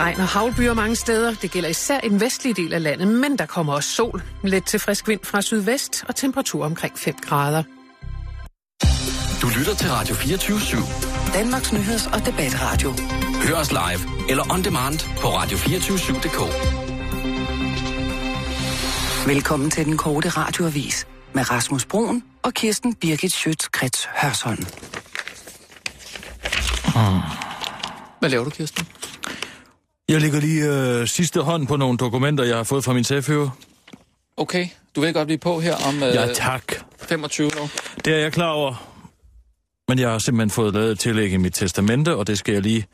Regn og havlbyer mange steder. Det gælder især i den vestlige del af landet, men der kommer også sol. Let til frisk vind fra sydvest og temperatur omkring 5 grader. Du lytter til Radio 24-7. Danmarks Nyheds- og Debatradio. Hør os live eller on demand på radio247.dk. Velkommen til den korte radioavis med Rasmus Broen og Kirsten Birgit Schøtz-Krets Hørsholm. Hvad laver du, Kirsten? Jeg lægger lige øh, sidste hånd på nogle dokumenter, jeg har fået fra min chefhøver. Okay, du vil godt blive på her om øh, Ja, tak. 25 år. Det er jeg klar over. Men jeg har simpelthen fået lavet et tillæg i mit testamente, og det skal jeg lige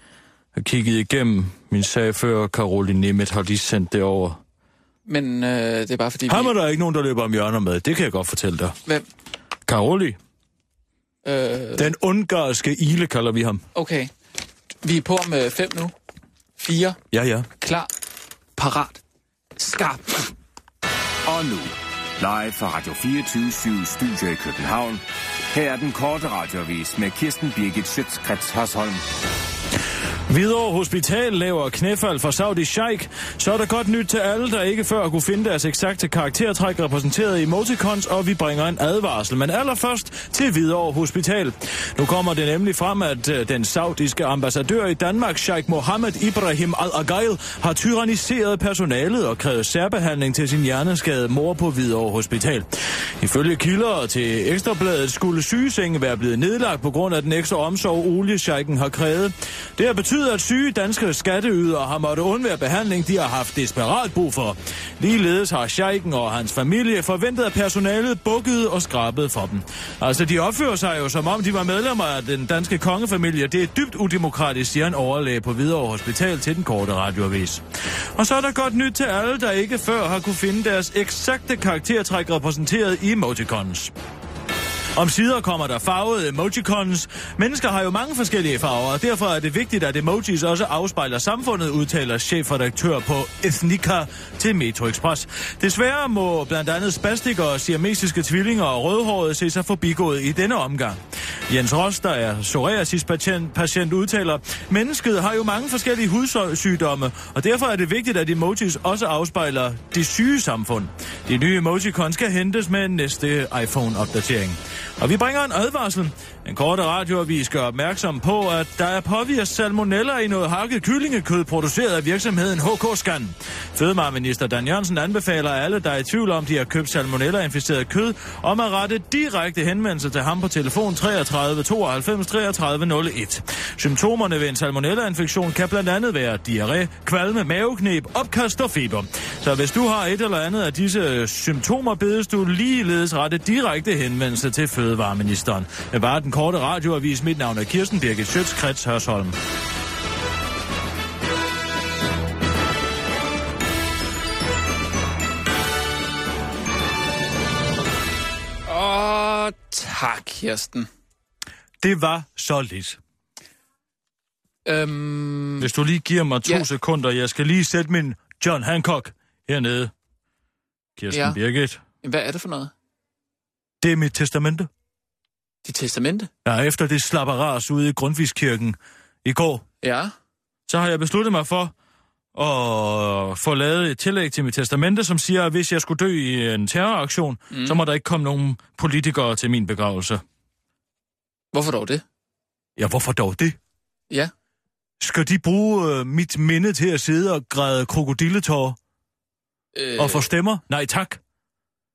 have kigget igennem. Min sagfører, Caroline Nemeth, har lige sendt det over. Men øh, det er bare fordi... Ham er der ikke nogen, der løber om hjørner med. Det kan jeg godt fortælle dig. Hvem? Caroli, Øh, den ungarske ile kalder vi ham. okay, vi er på om øh, fem nu. Fire, Ja, ja. klar, parat, skarp. Og nu, live fra Radio 24 Studio i København. Her er den korte radiovis med Kirsten Birgit Schøtzgrads Hasholm. Hvidovre Hospital laver knæfald for Saudi Sheikh, så er der godt nyt til alle, der ikke før kunne finde deres eksakte karaktertræk repræsenteret i emoticons, og vi bringer en advarsel. Men allerførst til Hvidovre Hospital. Nu kommer det nemlig frem, at øh, den saudiske ambassadør i Danmark, Sheikh Mohammed Ibrahim Al-Agail, har tyranniseret personalet og krævet særbehandling til sin hjerneskade mor på Hvidovre Hospital. Ifølge kilder til Ekstrabladet skulle sygesenge være blevet nedlagt på grund af den ekstra omsorg, oliesjejken har krævet. Det har betydet, at syge danske skatteydere har måttet undvære behandling, de har haft desperat brug for. Ligeledes har sjejken og hans familie forventet, at personalet bukkede og skrabede for dem. Altså, de opfører sig jo som om, de var medlemmer af den danske kongefamilie. Det er dybt udemokratisk, siger en overlæge på Hvidovre Hospital til den korte radioavis. Og så er der godt nyt til alle, der ikke før har kunne finde deres eksakte karaktertræk repræsenteret i emoticons. Om sider kommer der farvede emojicons. Mennesker har jo mange forskellige farver, og derfor er det vigtigt, at emojis også afspejler samfundet, udtaler chefredaktør på Ethnica til Metro Express. Desværre må blandt andet spastikere, siamesiske tvillinger og rødhårede se sig forbigået i denne omgang. Jens Ross, der er psoriasis-patient, patient, udtaler, mennesket har jo mange forskellige hudsygdomme, og derfor er det vigtigt, at emojis også afspejler det syge samfund. De nye emojicons skal hentes med næste iPhone-opdatering. Og vi bringer en advarsel. Den korte radioavis gør opmærksom på, at der er påvist salmonella i noget hakket kyllingekød produceret af virksomheden HK Scan. Fødevareminister Dan Jørgensen anbefaler alle, der er i tvivl om, de har købt salmonella-inficeret kød, om at rette direkte henvendelse til ham på telefon 33 92 33 01. Symptomerne ved en salmonella-infektion kan blandt andet være diarré, kvalme, maveknep, opkast og feber. Så hvis du har et eller andet af disse symptomer, bedes du ligeledes rette direkte henvendelse til fødevareministeren. Det var den korte radioavis. Mit navn er Kirsten Birgit Schøtz, Krets Hørsholm. Åh, tak, Kirsten. Det var så lidt. Øhm, Hvis du lige giver mig to Ja. ja. sekunder, jeg skal lige sætte min John Hancock hernede. Kirsten Ja. ja. Birgit. hvad er det for noget? Det er mit testamente. Dit testamente? Ja, efter det slapperas ude i Grundtvigskirken i går, Ja. så har jeg besluttet mig for at få lavet et tillæg til mit testamente, som siger, at hvis jeg skulle dø i en terroraktion, mm. så må der ikke komme nogen politikere til min begravelse. Hvorfor dog det? Ja, hvorfor dog det? Ja. Skal de bruge øh, mit minde til at sidde og græde krokodilletårer Øh, øh. og få stemmer? Nej tak.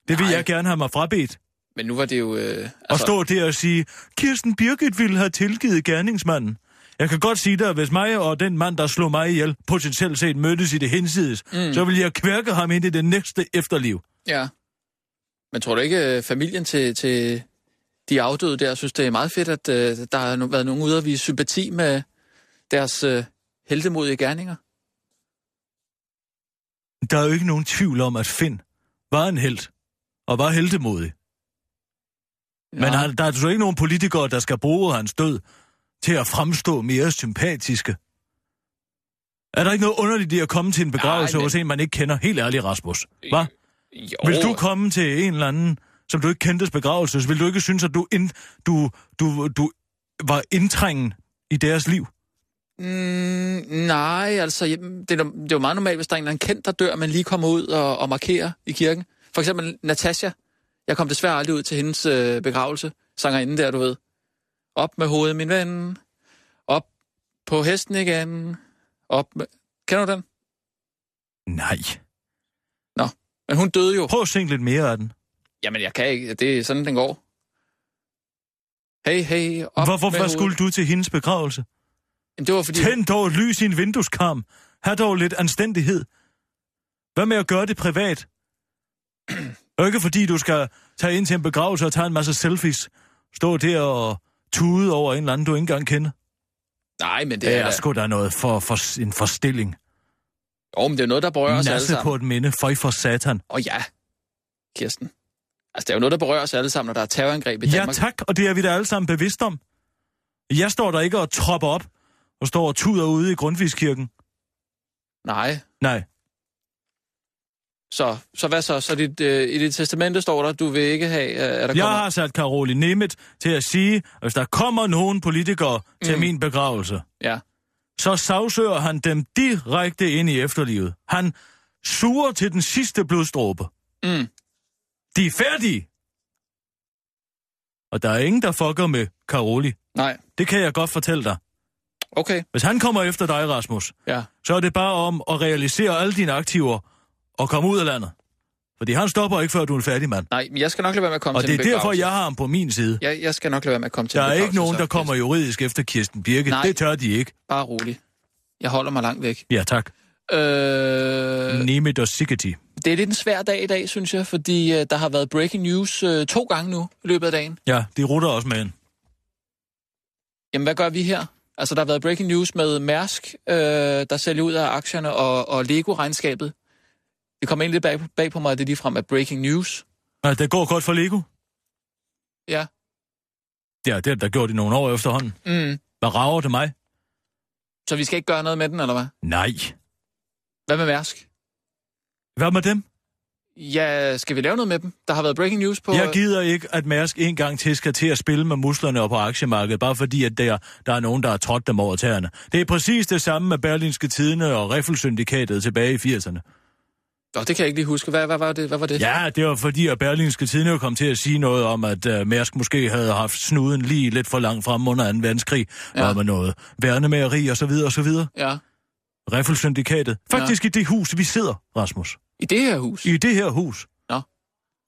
Det vil Nej. jeg gerne have mig frabedt. Men nu var det jo... Øh, Og stå der og sige, Kirsten Birgit ville have tilgivet gerningsmanden. Jeg kan godt sige dig, at hvis mig og den mand, der slog mig ihjel, potentielt set mødtes i det hensides, mm. så vil jeg kværke ham ind i det næste efterliv. Ja. Men tror du ikke, øh, familien til, til de afdøde der synes, det er meget fedt, at øh, der har no- været nogen ude at vise sympati med deres øh, heldemodige gerninger? Der er jo ikke nogen tvivl om, at Finn var en held og var heldemodig. Men Nå, han, der er altså ikke nogen politikere, der skal bruge hans død til at fremstå mere sympatiske. Er der ikke noget underligt i at komme til en begravelse Nej, men- men... hos en, man ikke kender? Helt ærligt, Rasmus. Hva? Jo, Hvis du komme til en eller anden, som du ikke kendtes begravelse, så ville du ikke synes, at du, ind, du, du, du var indtrængen i deres liv? mm, Nej, altså, jamen, det er, det er jo meget normalt, hvis der er en eller anden kendt, der dør, man lige kommer ud og, og markerer i kirken. For eksempel Natasha. Jeg kom desværre aldrig ud til hendes øh, begravelse. Sangerinde der, du ved. Op med hovedet, min ven. Op på hesten igen. Op med... Kender du den? Nej. Men hun døde jo. Prøv at synge lidt mere af den. Jamen, jeg kan ikke. Det er sådan, den går. Hey, hey, op Hvorfor med hvad hovedet. skulle du til hendes begravelse? Jamen, det var fordi... Tænd dog et lys i en vindueskarm. Hav dog lidt anstændighed. Hvad med at gøre det privat? Og ikke fordi du skal tage ind til en begravelse og tage en masse selfies. Stå der og tude over en eller anden, du ikke engang kender. Nej, men det Det er... er sgu da noget for, for en forstilling. Jo, men det er jo noget, der berører os alle Nasse sammen. på et minde, føj for satan. Og ja, Kirsten. Altså, det er jo noget, der berører os alle sammen, når der er terrorangreb i Ja Danmark. tak, og det er vi da alle sammen bevidst om. Jeg står der ikke og tropper op og står og tuder ude i Grundtvigskirken. Nej. Nej, Så, så hvad så? Så dit, øh, i dit testamente står der, du vil ikke have, øh, at der jeg kommer... har sat Karoli Nemeth til at sige, at hvis der kommer nogen politikere til Mm. min begravelse, Ja. så sagsøger han dem direkte ind i efterlivet. Han suger til den sidste blodstråbe. Mm. De er færdige! Og der er ingen, der fucker med Karoli. Nej. Det kan jeg godt fortælle dig. Okay. Hvis han kommer efter dig, Rasmus, Ja. så er det bare om at realisere alle dine aktiver og komme ud af landet. Fordi han stopper ikke, før du er en fattig mand. Nej, men jeg skal nok lade være med at komme Og til det en er derfor, begravelse. jeg har ham på min side. Jeg, jeg skal nok lade være med at komme til Der en er ikke begravelse, nogen, så, der kommer Kirsten. juridisk efter Kirsten Birke. Nej. Det tør de ikke. Bare rolig. Jeg holder mig langt væk. Ja, tak. Øh, Nemeth og Sikkerti. det er lidt en svær dag i dag, synes jeg, fordi øh, der har været breaking news øh, to gange nu i løbet af dagen. Ja, de rutter også med en. Jamen, hvad gør vi her? Altså, der har været breaking news med Mærsk, øh, der sælger ud af aktierne, og, og Lego-regnskabet. Det kommer egentlig bag, bag på mig, at det ligefrem er breaking news. Ja, det går godt for Lego. Ja. Ja, det har der gjort i nogle år efterhånden. Mm. Hvad rager det mig? Så vi skal ikke gøre noget med den, eller hvad? Nej. Hvad med Mærsk? Hvad med dem? Ja, skal vi lave noget med dem? Der har været breaking news på... Jeg gider ikke, at Mærsk en gang til skal til at spille med muslerne op på aktiemarkedet, bare fordi, at der, der er nogen, der har trådt dem over tæerne. Det er præcis det samme med Berlinske Tidene og Riffelsyndikatet tilbage i 80'erne. Nå, det kan jeg ikke lige huske. Hvad, hvad var det? Hvad var det? Ja, det var fordi, at Berlinske Tidene jo kom til at sige noget om, at uh, Mærsk måske havde haft snuden lige lidt for langt frem under 2. verdenskrig. Ja. Ja. Noget med noget værnemageri og så videre og så videre. ja. Riffelsyndikatet. Faktisk ja. i det hus, vi sidder, Rasmus. I det her hus? I det her hus. Nå.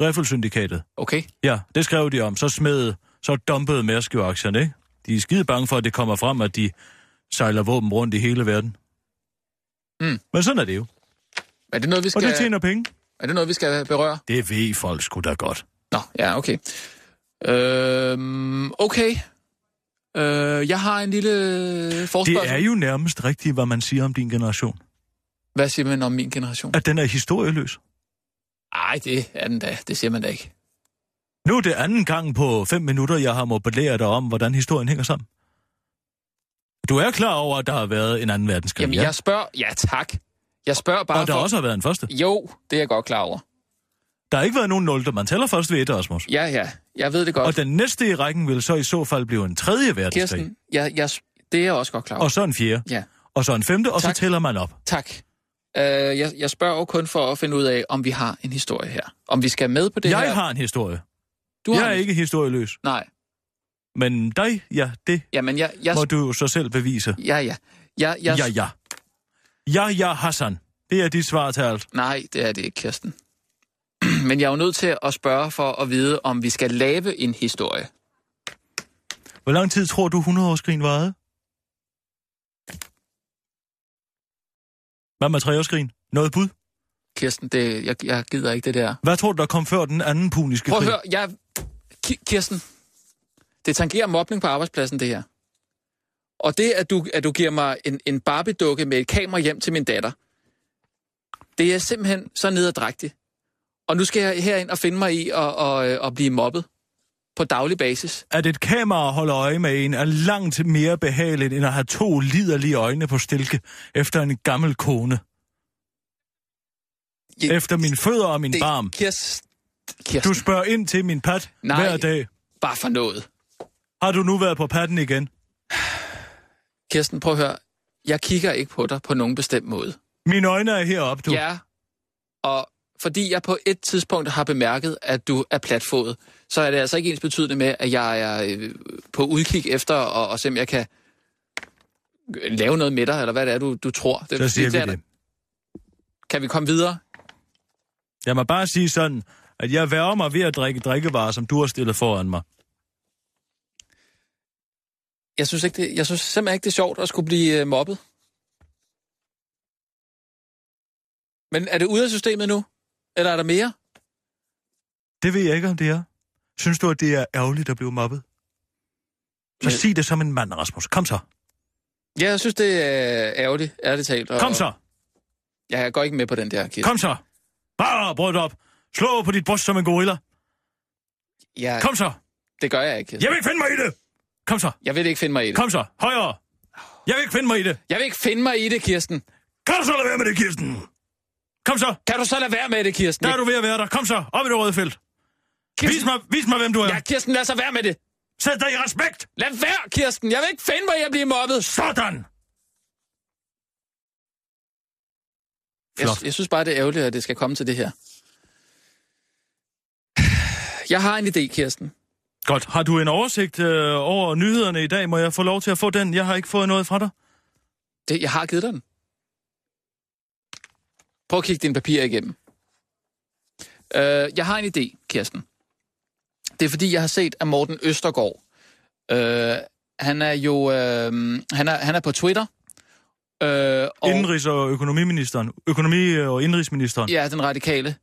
Riffelsyndikatet. Okay. Ja, det skrev de om. Så smed, så dumpede Mærsk jo aktierne, ikke? De er skide bange for, at det kommer frem, at de sejler våben rundt i hele verden. Mm. Men sådan er det jo. Er det noget, vi Og skal, det tjener penge. er det noget, vi skal berøre? Det ved folk sgu da godt. Nå, ja, okay. Øhm, okay. Øh, jeg har en lille forspørgsel. Det er jo nærmest rigtigt, hvad man siger om din generation. Hvad siger man om min generation? At den er historieløs. Nej, det er den da. Det siger man da ikke. Nu er det anden gang på fem minutter, jeg har må belære dig om, hvordan historien hænger sammen. Du er klar over, at der har været en anden verdenskrig, Jamen, ja? jeg spørger... Ja, tak. Jeg spørger bare Og der for... også har været en første. Jo, det er jeg godt klar over. Der har ikke været nogen nulte. Man tæller først ved et, Rasmus. Ja, ja. Jeg ved det godt. Og den næste i rækken vil så i så fald blive en tredje verdenskrig. Kirsten, jeg, jeg, det er jeg også godt klar over. Og så en fjerde. Ja, Og så en femte, og Tak. så tæller man op. tak. Øh, jeg, jeg spørger jo kun for at finde ud af, om vi har en historie her. Om vi skal med på det jeg her. har en historie. Du jeg har er en- ikke historieløs. Nej, Men dig, ja, det jamen jeg... jeg må du jo så selv bevise. Ja, ja. Jeg, jeg, Ja, ja. Ja, ja, Hassan. Det er dit svar til alt. Nej, det er det ikke, Kirsten. Men jeg er jo nødt til at spørge for at vide, om vi skal lave en historie. Hvor lang tid tror du 100-årskrigen varede? Hvad med 3-årskrigen? Noget bud? Kirsten, det, jeg, jeg gider ikke det der. Hvad tror du, der kom før den anden puniske Prøv at krig? høre, jeg... Ki- Kirsten, det tangerer mobning på arbejdspladsen, det her. Og det, at du, at du giver mig en, en Barbie-dukke med et kamera hjem til min datter, det er simpelthen så nederdragtigt. Og nu skal jeg herind og finde mig i at, at, øh, at blive mobbet på daglig basis. At et kamera holder øje med en er langt mere behageligt, end at have to liderlige øjne på stilke efter en gammel kone. Jeg- Efter min fødder og min Det, barm. Kirsten, Du Kirsten du... spørger ind til min pat Nej. hver dag. bare for noget. Har du nu været på patten igen? Kirsten, prøv at høre. jeg kigger ikke på dig på nogen bestemt måde. Mine øjne er heroppe, du. Du. Ja, og fordi jeg på et tidspunkt har bemærket, at du er platfodet, så er det altså ikke ens betydende med, at jeg er øh, på udkig efter, og, og se om jeg kan øh, lave noget med dig, eller hvad det er, du, du tror. Det, Så siger der- vi det. Kan vi komme videre? Jeg må bare sige sådan, at jeg værger mig ved at drikke drikkevarer, som du har stillet foran mig. Jeg synes, ikke, det, jeg synes simpelthen ikke, det er sjovt at skulle blive øh, mobbet. Men er det ude af systemet nu? Eller er der mere? Det ved jeg ikke, om det er. Synes du, at det er ærgerligt at blive mobbet? Ja. Så sig det som en mand, Rasmus. Kom så. Ja, jeg synes, det er øh, ærgerligt, ærligt talt. Og, Kom så. Ja, jeg går ikke med på den der, Kirsten. Kom så. Bare brød op. Slå på dit bryst som en gorilla. Jeg, Kom så. Det gør jeg ikke, Kirsten. Jeg vil ikke finde mig i det. Kom så. Jeg vil ikke finde mig i det. Kom så. Højere. Jeg vil ikke finde mig i det. Jeg vil ikke finde mig i det, Kirsten. Kan du så lade være med det, Kirsten? Kom så. Kan du så lade være med det, Kirsten? Der er du ved at være der. Kom så. Op i det røde felt. Vis mig, vis mig hvem du er. Ja, Kirsten, lad så være med det. Sæt dig i respekt. Lad være, Kirsten. Jeg vil ikke finde mig i at blive mobbet. Sådan. Jeg, Flot. jeg synes bare, det er ærgerligt, at det skal komme til det her. Jeg har en idé, Kirsten. Godt. Har du en oversigt øh, over nyhederne i dag? Må jeg få lov til at få den? Jeg har ikke fået noget fra dig. Det, jeg har givet dig den. Prøv at kigge dine papirer igennem. Øh, jeg har en idé, Kirsten. Det er fordi, jeg har set, at Morten Østergaard, øh, han er jo øh, han er, han er på Twitter. Øh, Og... Indrigs- og økonomiministeren. Økonomi- og indrigsministeren. Ja, den radikale.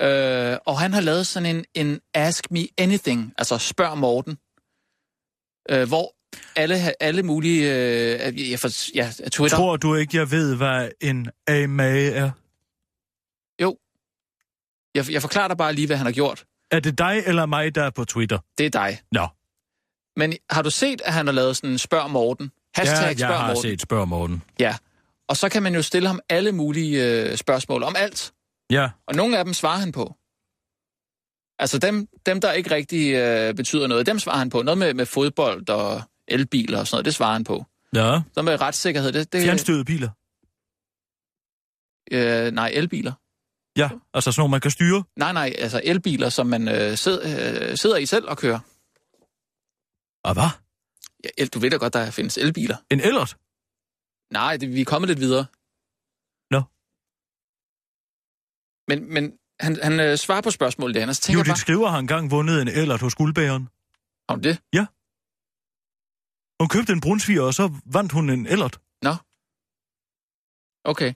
Øh, og han har lavet sådan en, en Ask Me Anything, altså Spørg Morten, øh, hvor alle, ha- alle mulige... Øh, jeg, for, ja, Twitter... Tror du ikke, jeg ved, hvad en AMA er? Jeg, jeg forklarer dig bare lige, hvad han har gjort. Er det dig eller mig, der er på Twitter? Det er dig. Nå, Men har du set, at han har lavet sådan en Spørg Morten? Hashtag ja, Spørg jeg har Morten. set Spørg Morten. Ja. Og så kan man jo stille ham alle mulige øh, spørgsmål om alt. Ja, Og nogle af dem svarer han på. Altså dem, dem der ikke rigtig øh, betyder noget, dem svarer han på. Noget med, med fodbold og elbiler og sådan noget, det svarer han på. ja. Så med retssikkerhed, det... det Fjernstøde biler. øh, nej, elbiler. Ja, altså sådan nogle, man kan styre. Nej, nej, altså elbiler, som man øh, sid, øh, sidder i selv og kører. Og hvad? Ja, el, du ved da godt, der findes elbiler. En ellert? Nej, det, vi er kommet lidt videre. Nå. Men, men han, han øh, svarer på spørgsmålet, Anders. Tænker Judith jeg Skriver har engang vundet en ellert hos guldbæren. bare, om det. Hun købte en brunsviger, og så vandt hun en ellert. Okay.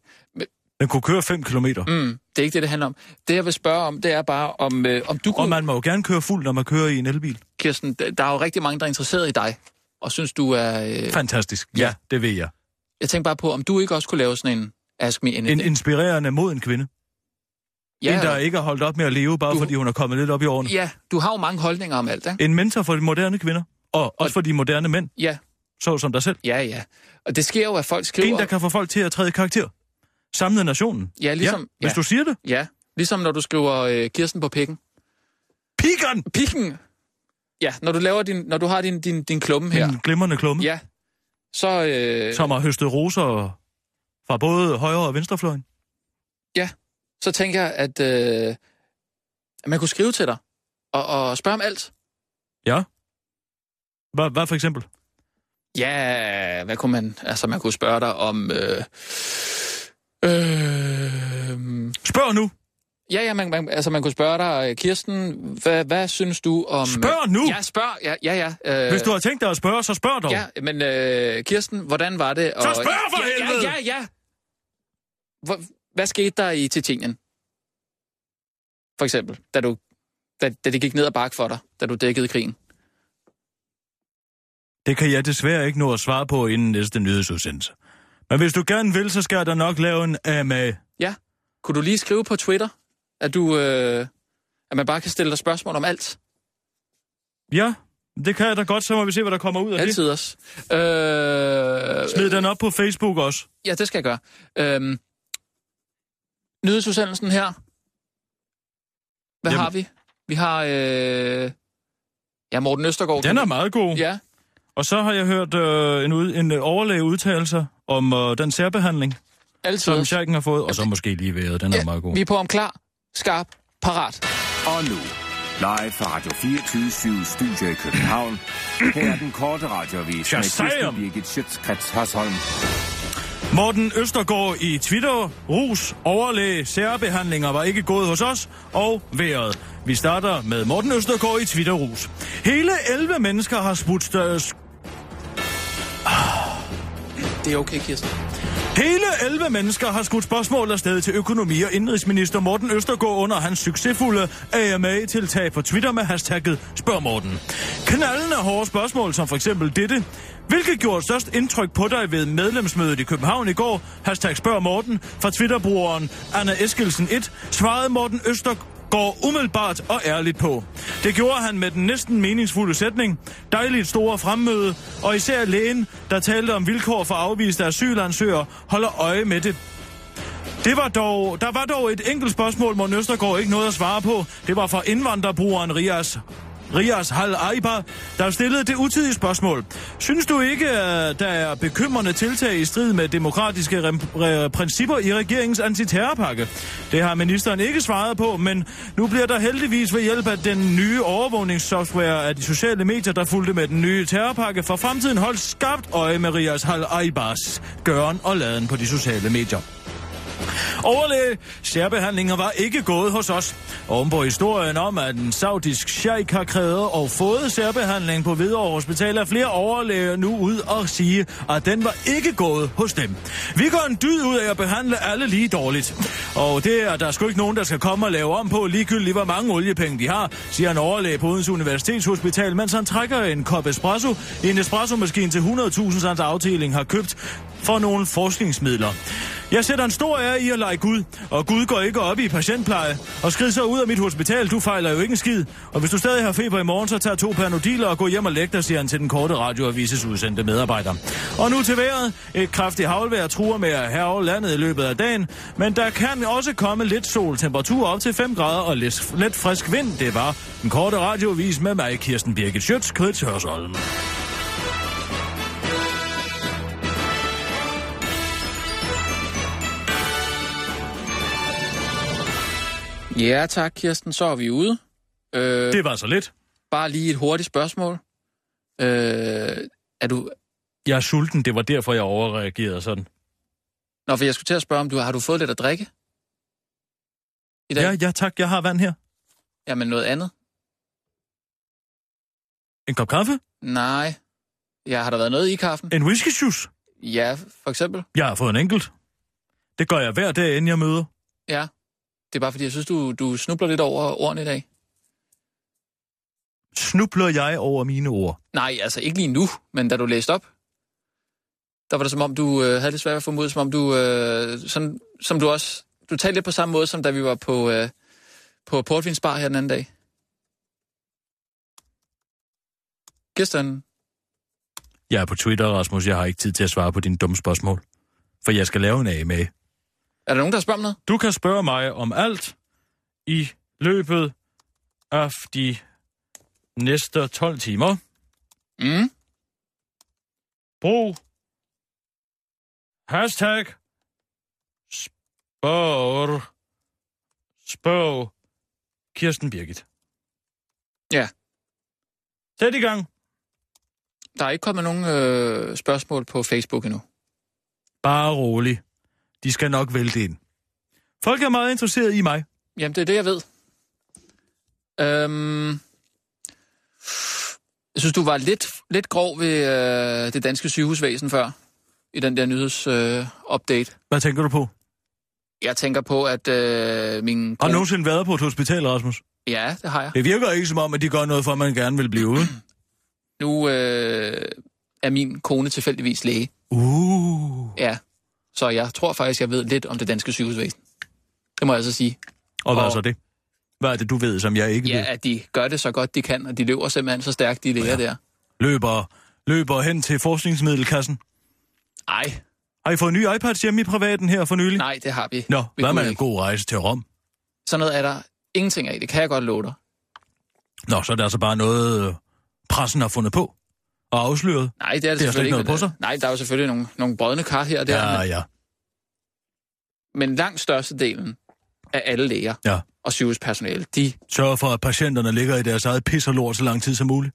Den kunne køre 5 km. Mm. Mm, det er ikke det, det handler om. Det, jeg vil spørge om, det er bare, om, øh, om du kunne... Og man må jo gerne køre fuld, når man kører i en elbil. Kirsten, der der er jo rigtig mange, der er interesseret i dig, og synes du er... Øh, Fantastisk. Ja. Ja, det ved jeg. jeg tænker bare på, om du ikke også kunne lave sådan en Ask Me Anything. En inspirerende moden kvinde. Ja, en, der ikke har holdt op med at leve, bare Du- du... fordi hun er kommet lidt op i årene. ja, du har jo mange holdninger om alt, ikke? En mentor for de moderne kvinder. Og også for de moderne mænd, Ja, så som dig selv. ja, ja. Og det sker jo, at folk skriver... En, der kan få folk til at træde i karakter. Samle nationen. Ja, ligesom- Ja, hvis ja. du siger det. Ja, ligesom når du skriver øh, Kirsten på pikken. Pigeren! Pikken! Ja, når du, laver din, når du har din, din, din klumme her, Ja. En glimrende klumme, ja. ja, så... Øh, som har høstet roser fra både højre og venstrefløjen. så tænker jeg, at, øh, at man kunne skrive til dig og, og spørge om alt. Ja. Hvad, hvad for eksempel? Ja, hvad kunne man... Altså, man kunne spørge dig om... Øh, øh, Spørg nu! ja, ja, man, man, altså, man kunne spørge dig, øh, Kirsten, hvad, hvad synes du om... Spørg nu! Ja, spørg, ja, ja. ja øh, Hvis du har tænkt dig at spørge, så spørg dog. Ja, men øh, Kirsten, hvordan var det? Og, Så spørg for ja, helvede! Ja, ja, ja. Hvor, hvad skete der i Tjetjenien? For eksempel, da, du, da, da det gik ned ad bakke for dig, da du dækkede krigen. Det kan jeg desværre ikke nå at svare på inden næste nyhedsudsendelse. Men hvis du gerne vil, så skal jeg da nok lave en AMA. Ja. Kunne du lige skrive på Twitter, at du... Øh, at man bare kan stille dig spørgsmål om alt. Ja, det kan jeg da godt, så må vi se, hvad der kommer ud af Altid også. Øh, det. Smid den op på Facebook også. ja, det skal jeg gøre. Øh, nyhedsudsendelsen her. Hvad Jamen. har vi? Vi har... Øh, ja, Morten Østergaard. Den er meget god. Ja, Og så har jeg hørt øh, en, ud, en øh, overlæge udtale sig om øh, den særbehandling, som Altid. Scheiken har fået, og så måske lige været. Den er meget god. Vi er på om klar, skarp, parat. Og nu, live fra Radio 24 Studio i København. Her er den korte radiovis med Shazam! Kirsten Birgit Schøtzgrads Hasholm. Morten Østergaard i Twitter, rus, overlæge, særbehandlinger var ikke gået hos os, og vejret. Vi starter med Morten Østergaard i Twitter, rus. Hele 11 mennesker har øh, spudt større Det er okay, Kirsten. Hele 11 mennesker har skudt spørgsmål afsted til økonomi- og indrigsminister Morten Østergaard under hans succesfulde AMA-tiltag på Twitter med hashtagget Spørg Morten. Knallende hårde spørgsmål som for eksempel dette. Hvilket gjorde størst indtryk på dig ved medlemsmødet i København i går? Hashtag Spørg Morten fra Twitterbrugeren Anna Eskelsen 1 svarede Morten Østergaard går umiddelbart og ærligt på. Det gjorde han med den næsten meningsfulde sætning, dejligt store fremmøde, og især lægen, der talte om vilkår for afviste asylansøgere, holder øje med det. Det var dog, der var dog et enkelt spørgsmål, Morten Østergaard ikke nåede at svare på. Det var fra indvandrerbrugeren Rias Rias Hal Aiba, der stillede det utidige spørgsmål. Synes du ikke, at der er bekymrende tiltag i strid med demokratiske rem- re- principper i regeringens antiterrorpakke? Det har ministeren ikke svaret på, men nu bliver der heldigvis ved hjælp af den nye overvågningssoftware af de sociale medier, der fulgte med den nye terrorpakke, for fremtiden holdt skarpt øje med Rias Hal Aibas gøren og laden på de sociale medier. Overlæge, særbehandlinger var ikke gået hos os. Oven på historien om, at en saudisk sheik har krævet og fået særbehandling på Hvidovre Hospital, er flere overlæger nu ud og sige, at den var ikke gået hos dem. Vi går en dyd ud af at behandle alle lige dårligt. Og det er der sgu ikke nogen, der skal komme og lave om på, ligegyldigt hvor mange oliepenge de har, siger en overlæge på Odense Universitetshospital, mens han trækker en kop espresso i en espresso-maskine til 100.000, som hans afdeling har købt for nogle forskningsmidler. Jeg sætter en stor ære i at lege Gud, og Gud går ikke op i patientpleje. Og skrid så ud af mit hospital, du fejler jo ikke en skid. Og hvis du stadig har feber i morgen, så tag to panodiler og gå hjem og læg dig, siger han til den korte radioavises udsendte medarbejder. Og nu til vejret. Et kraftigt havlvejr truer med at herve landet i løbet af dagen, men der kan også komme lidt sol, temperatur op til 5 grader og lidt, lidt frisk vind. Det var den korte radioavis med mig, Kirsten Birgit Schøtz, Krits Hørsholm. Ja tak, Kirsten. Så er vi ude. Øh, Det var så lidt. Bare lige et hurtigt spørgsmål. Øh, er du... Jeg er sulten, det var derfor, jeg overreagerede sådan. Nå, for jeg skulle til at spørge, om du har du fået lidt at drikke? I dag? Ja, ja tak, jeg har vand her. Jamen noget andet? En kop kaffe? Nej. Ja, har der været noget i kaffen? En whisky juice? Ja, for eksempel. Jeg har fået en enkelt. Det gør jeg hver dag, inden jeg møder. Ja. Det er bare fordi, jeg synes, du, du snubler lidt over ordene i dag. Snubler jeg over mine ord. Nej, altså ikke lige nu, men da du læste op, der var det som om, du øh, havde det svært ved at få mod, som om du, øh, sådan, som du også, du talte lidt på samme måde, som da vi var på, øh, på Portvinsbar her den anden dag. Kirsten, Jeg er på Twitter, Rasmus. Jeg har ikke tid til at svare på dine dumme spørgsmål. For jeg skal lave en af med. er der nogen, der spørger om noget? Du kan spørge mig om alt i løbet af de næste 12 timer. Mm. Brug hashtag spørg, spørg Kirsten Birgit. Ja. Sæt i gang. Der er ikke kommet nogen øh, spørgsmål på Facebook endnu. Bare rolig. De skal nok vælte ind. Folk er meget interesseret i mig. Jamen, det er det, jeg ved. Øhm, jeg synes, du var lidt, lidt grov ved øh, det danske sygehusvæsen før, i den der nyhedsupdate. Øh, update. Hvad tænker du på? jeg tænker på, at øh, min Har du nogensinde været på et hospital, Rasmus? Ja, det har jeg. Det virker ikke som om, at de gør noget for, at man gerne vil blive ude. Nu øh, er min kone tilfældigvis læge. Uh. Ja. Så jeg tror faktisk, jeg ved lidt om det danske sygehusvæsen. Det må jeg altså sige. Og hvad er Og- så det? Hvad er det, du ved, som jeg ikke Ja, ved? at de gør det så godt, de kan, og de løber simpelthen så stærkt, de læger ja. der. Løber, løber hen til forskningsmiddelkassen. Ej, Har I fået nye iPads hjemme i privaten her for nylig? nej, det har vi. Nå, vi hvad kunne med en ikke. god rejse til Rom? Sådan noget er der ingenting af, det kan jeg godt love dig. Nå, så er der altså bare noget, øh, pressen har fundet på. og afsløret. Nej, det er det, Det har slet selvfølgelig ikke noget men, på sig. øh, Nej, der er jo selvfølgelig nogle, nogle brødne kar her og der, Ja, men, ja. men langt størstedelen af alle læger Ja. og sygehuspersonale, de... Sørg for, at patienterne ligger i deres eget pis og lort så lang tid som muligt,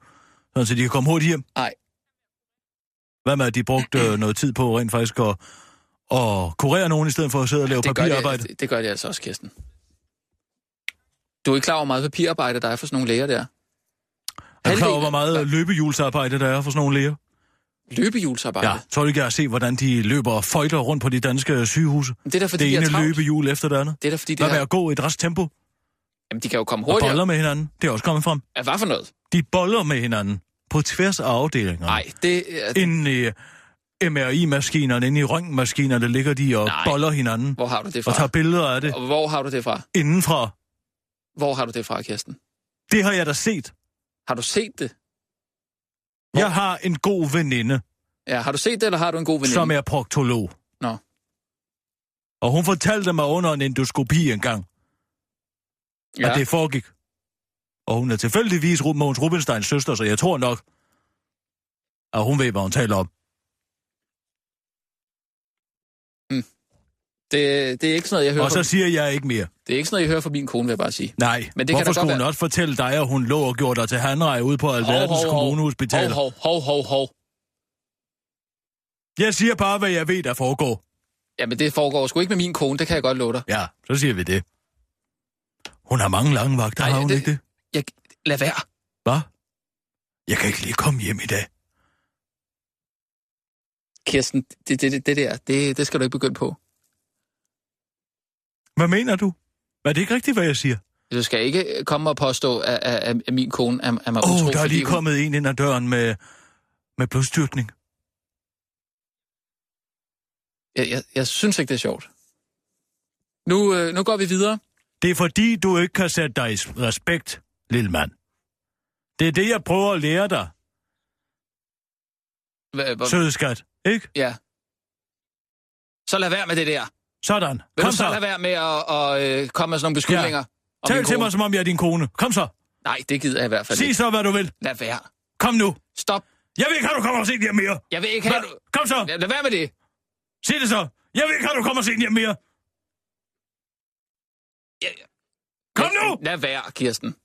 sådan så de kan komme hurtigt hjem. Nej, Hvad med, at de brugte øh, noget tid på rent faktisk at, at kurere nogen, i stedet for at sidde og lave det gør, papirarbejde? de, det, det gør de altså også, Kirsten. Du er ikke klar over, hvor meget papirarbejde der er for sådan nogle læger der. Er du klar over, Halvdelen- hvor meget løbehjulsarbejde der er for sådan nogle læger? Løbehjulsarbejde? Ja, tror du ikke, jeg har set, hvordan de løber og føjter rundt på de danske sygehuse? Men Det er da fordi, det de har ene travlt. løbehjul efter det andet. Det er da fordi, de Hvad med har... at gå i et rask tempo Jamen, de kan jo komme og hurtigere. boller med hinanden? Det er også kommet frem. Ja, hvad for noget? De boller med hinanden på tværs af afdelingerne. Nej, det... er- Inden i eh, MRI-maskinerne, inde i røntgenmaskinerne, ligger de og Nej. boller hinanden Hvor har du det fra? og tager billeder af det Og hvor har du det fra? indenfra. Hvor har du det fra, Kirsten? Det har jeg da set. Har du set det? Jeg har en god veninde, Ja, har du set det, eller har du en god veninde? som er proktolog. Nå. Og hun fortalte mig under en endoskopi engang, ja. ja. at det foregik. Og hun er tilfældigvis Ru- Mogens Rubinsteins søster, så jeg tror nok, at hun ved, hvad hun taler om. det, det er ikke sådan noget, jeg hører Og så fra, siger jeg ikke mere. det er ikke sådan noget, jeg hører fra min kone, vil jeg bare sige. Nej, Men det kan da hvorfor skulle godt hun være- også fortælle dig, at hun lå og gjorde dig til handrej ude på alverdens kommunehospitaler? Hov, hov, hov, hov. Jeg siger bare, hvad jeg ved, der foregår. Jamen, det foregår sgu ikke med min kone, det kan jeg godt love dig. Ja, så siger vi det. Hun har mange lange vagter, Nej, har hun det- ikke det? Jeg, lad være. Hvad? Jeg kan ikke lige komme hjem i dag. Kirsten, det, det, det, det der, det, det skal du ikke begynde på. Hvad mener du? Er det ikke rigtigt, hvad jeg siger? Du skal ikke komme og påstå, at, at, at, at min kone er, er mig Åh, utro, oh, der er fordi lige hun- kommet en ind ad døren med, med blodstyrtning. Jeg, jeg, jeg synes ikke, det er sjovt. Nu, øh, nu går vi videre. Det er fordi, du ikke kan sætte dig i s- respekt, lille mand. Det er det, jeg prøver at lære dig, Hva- hvor- søde skat. Ikke? Ja. Så lad være med det der. Sådan. Vil Kom du så lade så. være med at, at, at komme med sådan nogle beskyldninger? om min Tal til kone? mig, som om jeg er din kone. Kom så. Nej, det gider jeg i hvert fald Sig ikke. så, hvad du vil. Lad være. Kom nu. Stop. Jeg vil ikke have, du kommer og se hjem mere. Jeg vil ikke have... du- Kom så. Lad lad være med det. Sig det så. Jeg vil ikke have, du kommer og se hjem mere. Jeg- Kom lad- nu! Lad være, Kirsten.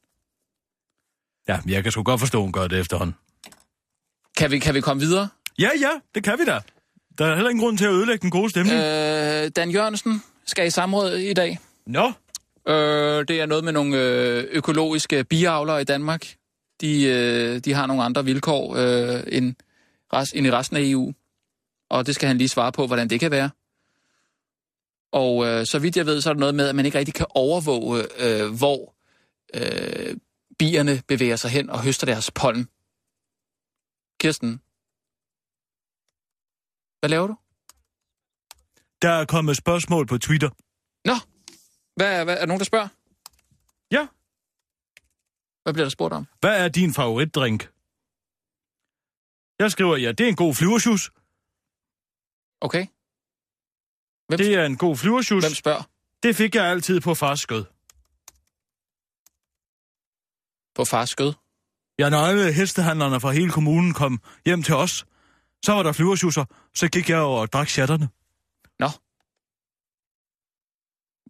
Ja, jeg kan sgu godt forstå, hun gør det efterhånden. Kan vi, kan vi komme videre? Ja, ja, det kan vi da. Der er heller ingen grund til at ødelægge den gode stemning. Øh. Øh, Dan Jørgensen skal i samråd i dag. Nå, Øh, det er noget med nogle øh, økologiske biavlere i Danmark. De, øh, de har nogle andre vilkår øh, end, rest, end i resten af EU. Og det skal han lige svare på, hvordan det kan være. Og øh, så vidt jeg ved, så er der noget med, at man ikke rigtig kan overvåge, øh, hvor øh, bierne bevæger sig hen og høster deres pollen. Kirsten, hvad laver du? der er kommet spørgsmål på Twitter. Nå, hvad, hvad, er der nogen, der spørger? Ja. Hvad bliver der spurgt om? Hvad er din favoritdrink? Jeg skriver, ja, det er en god flyversjus. Okay. Hvem- Det er en god flyversjus. Hvem spørger? Det fik jeg altid på fars skød. På fars skød. Ja, når alle hestehandlerne fra hele kommunen kom hjem til os, så var der flyversjusser. Så gik jeg over og drak chatterne.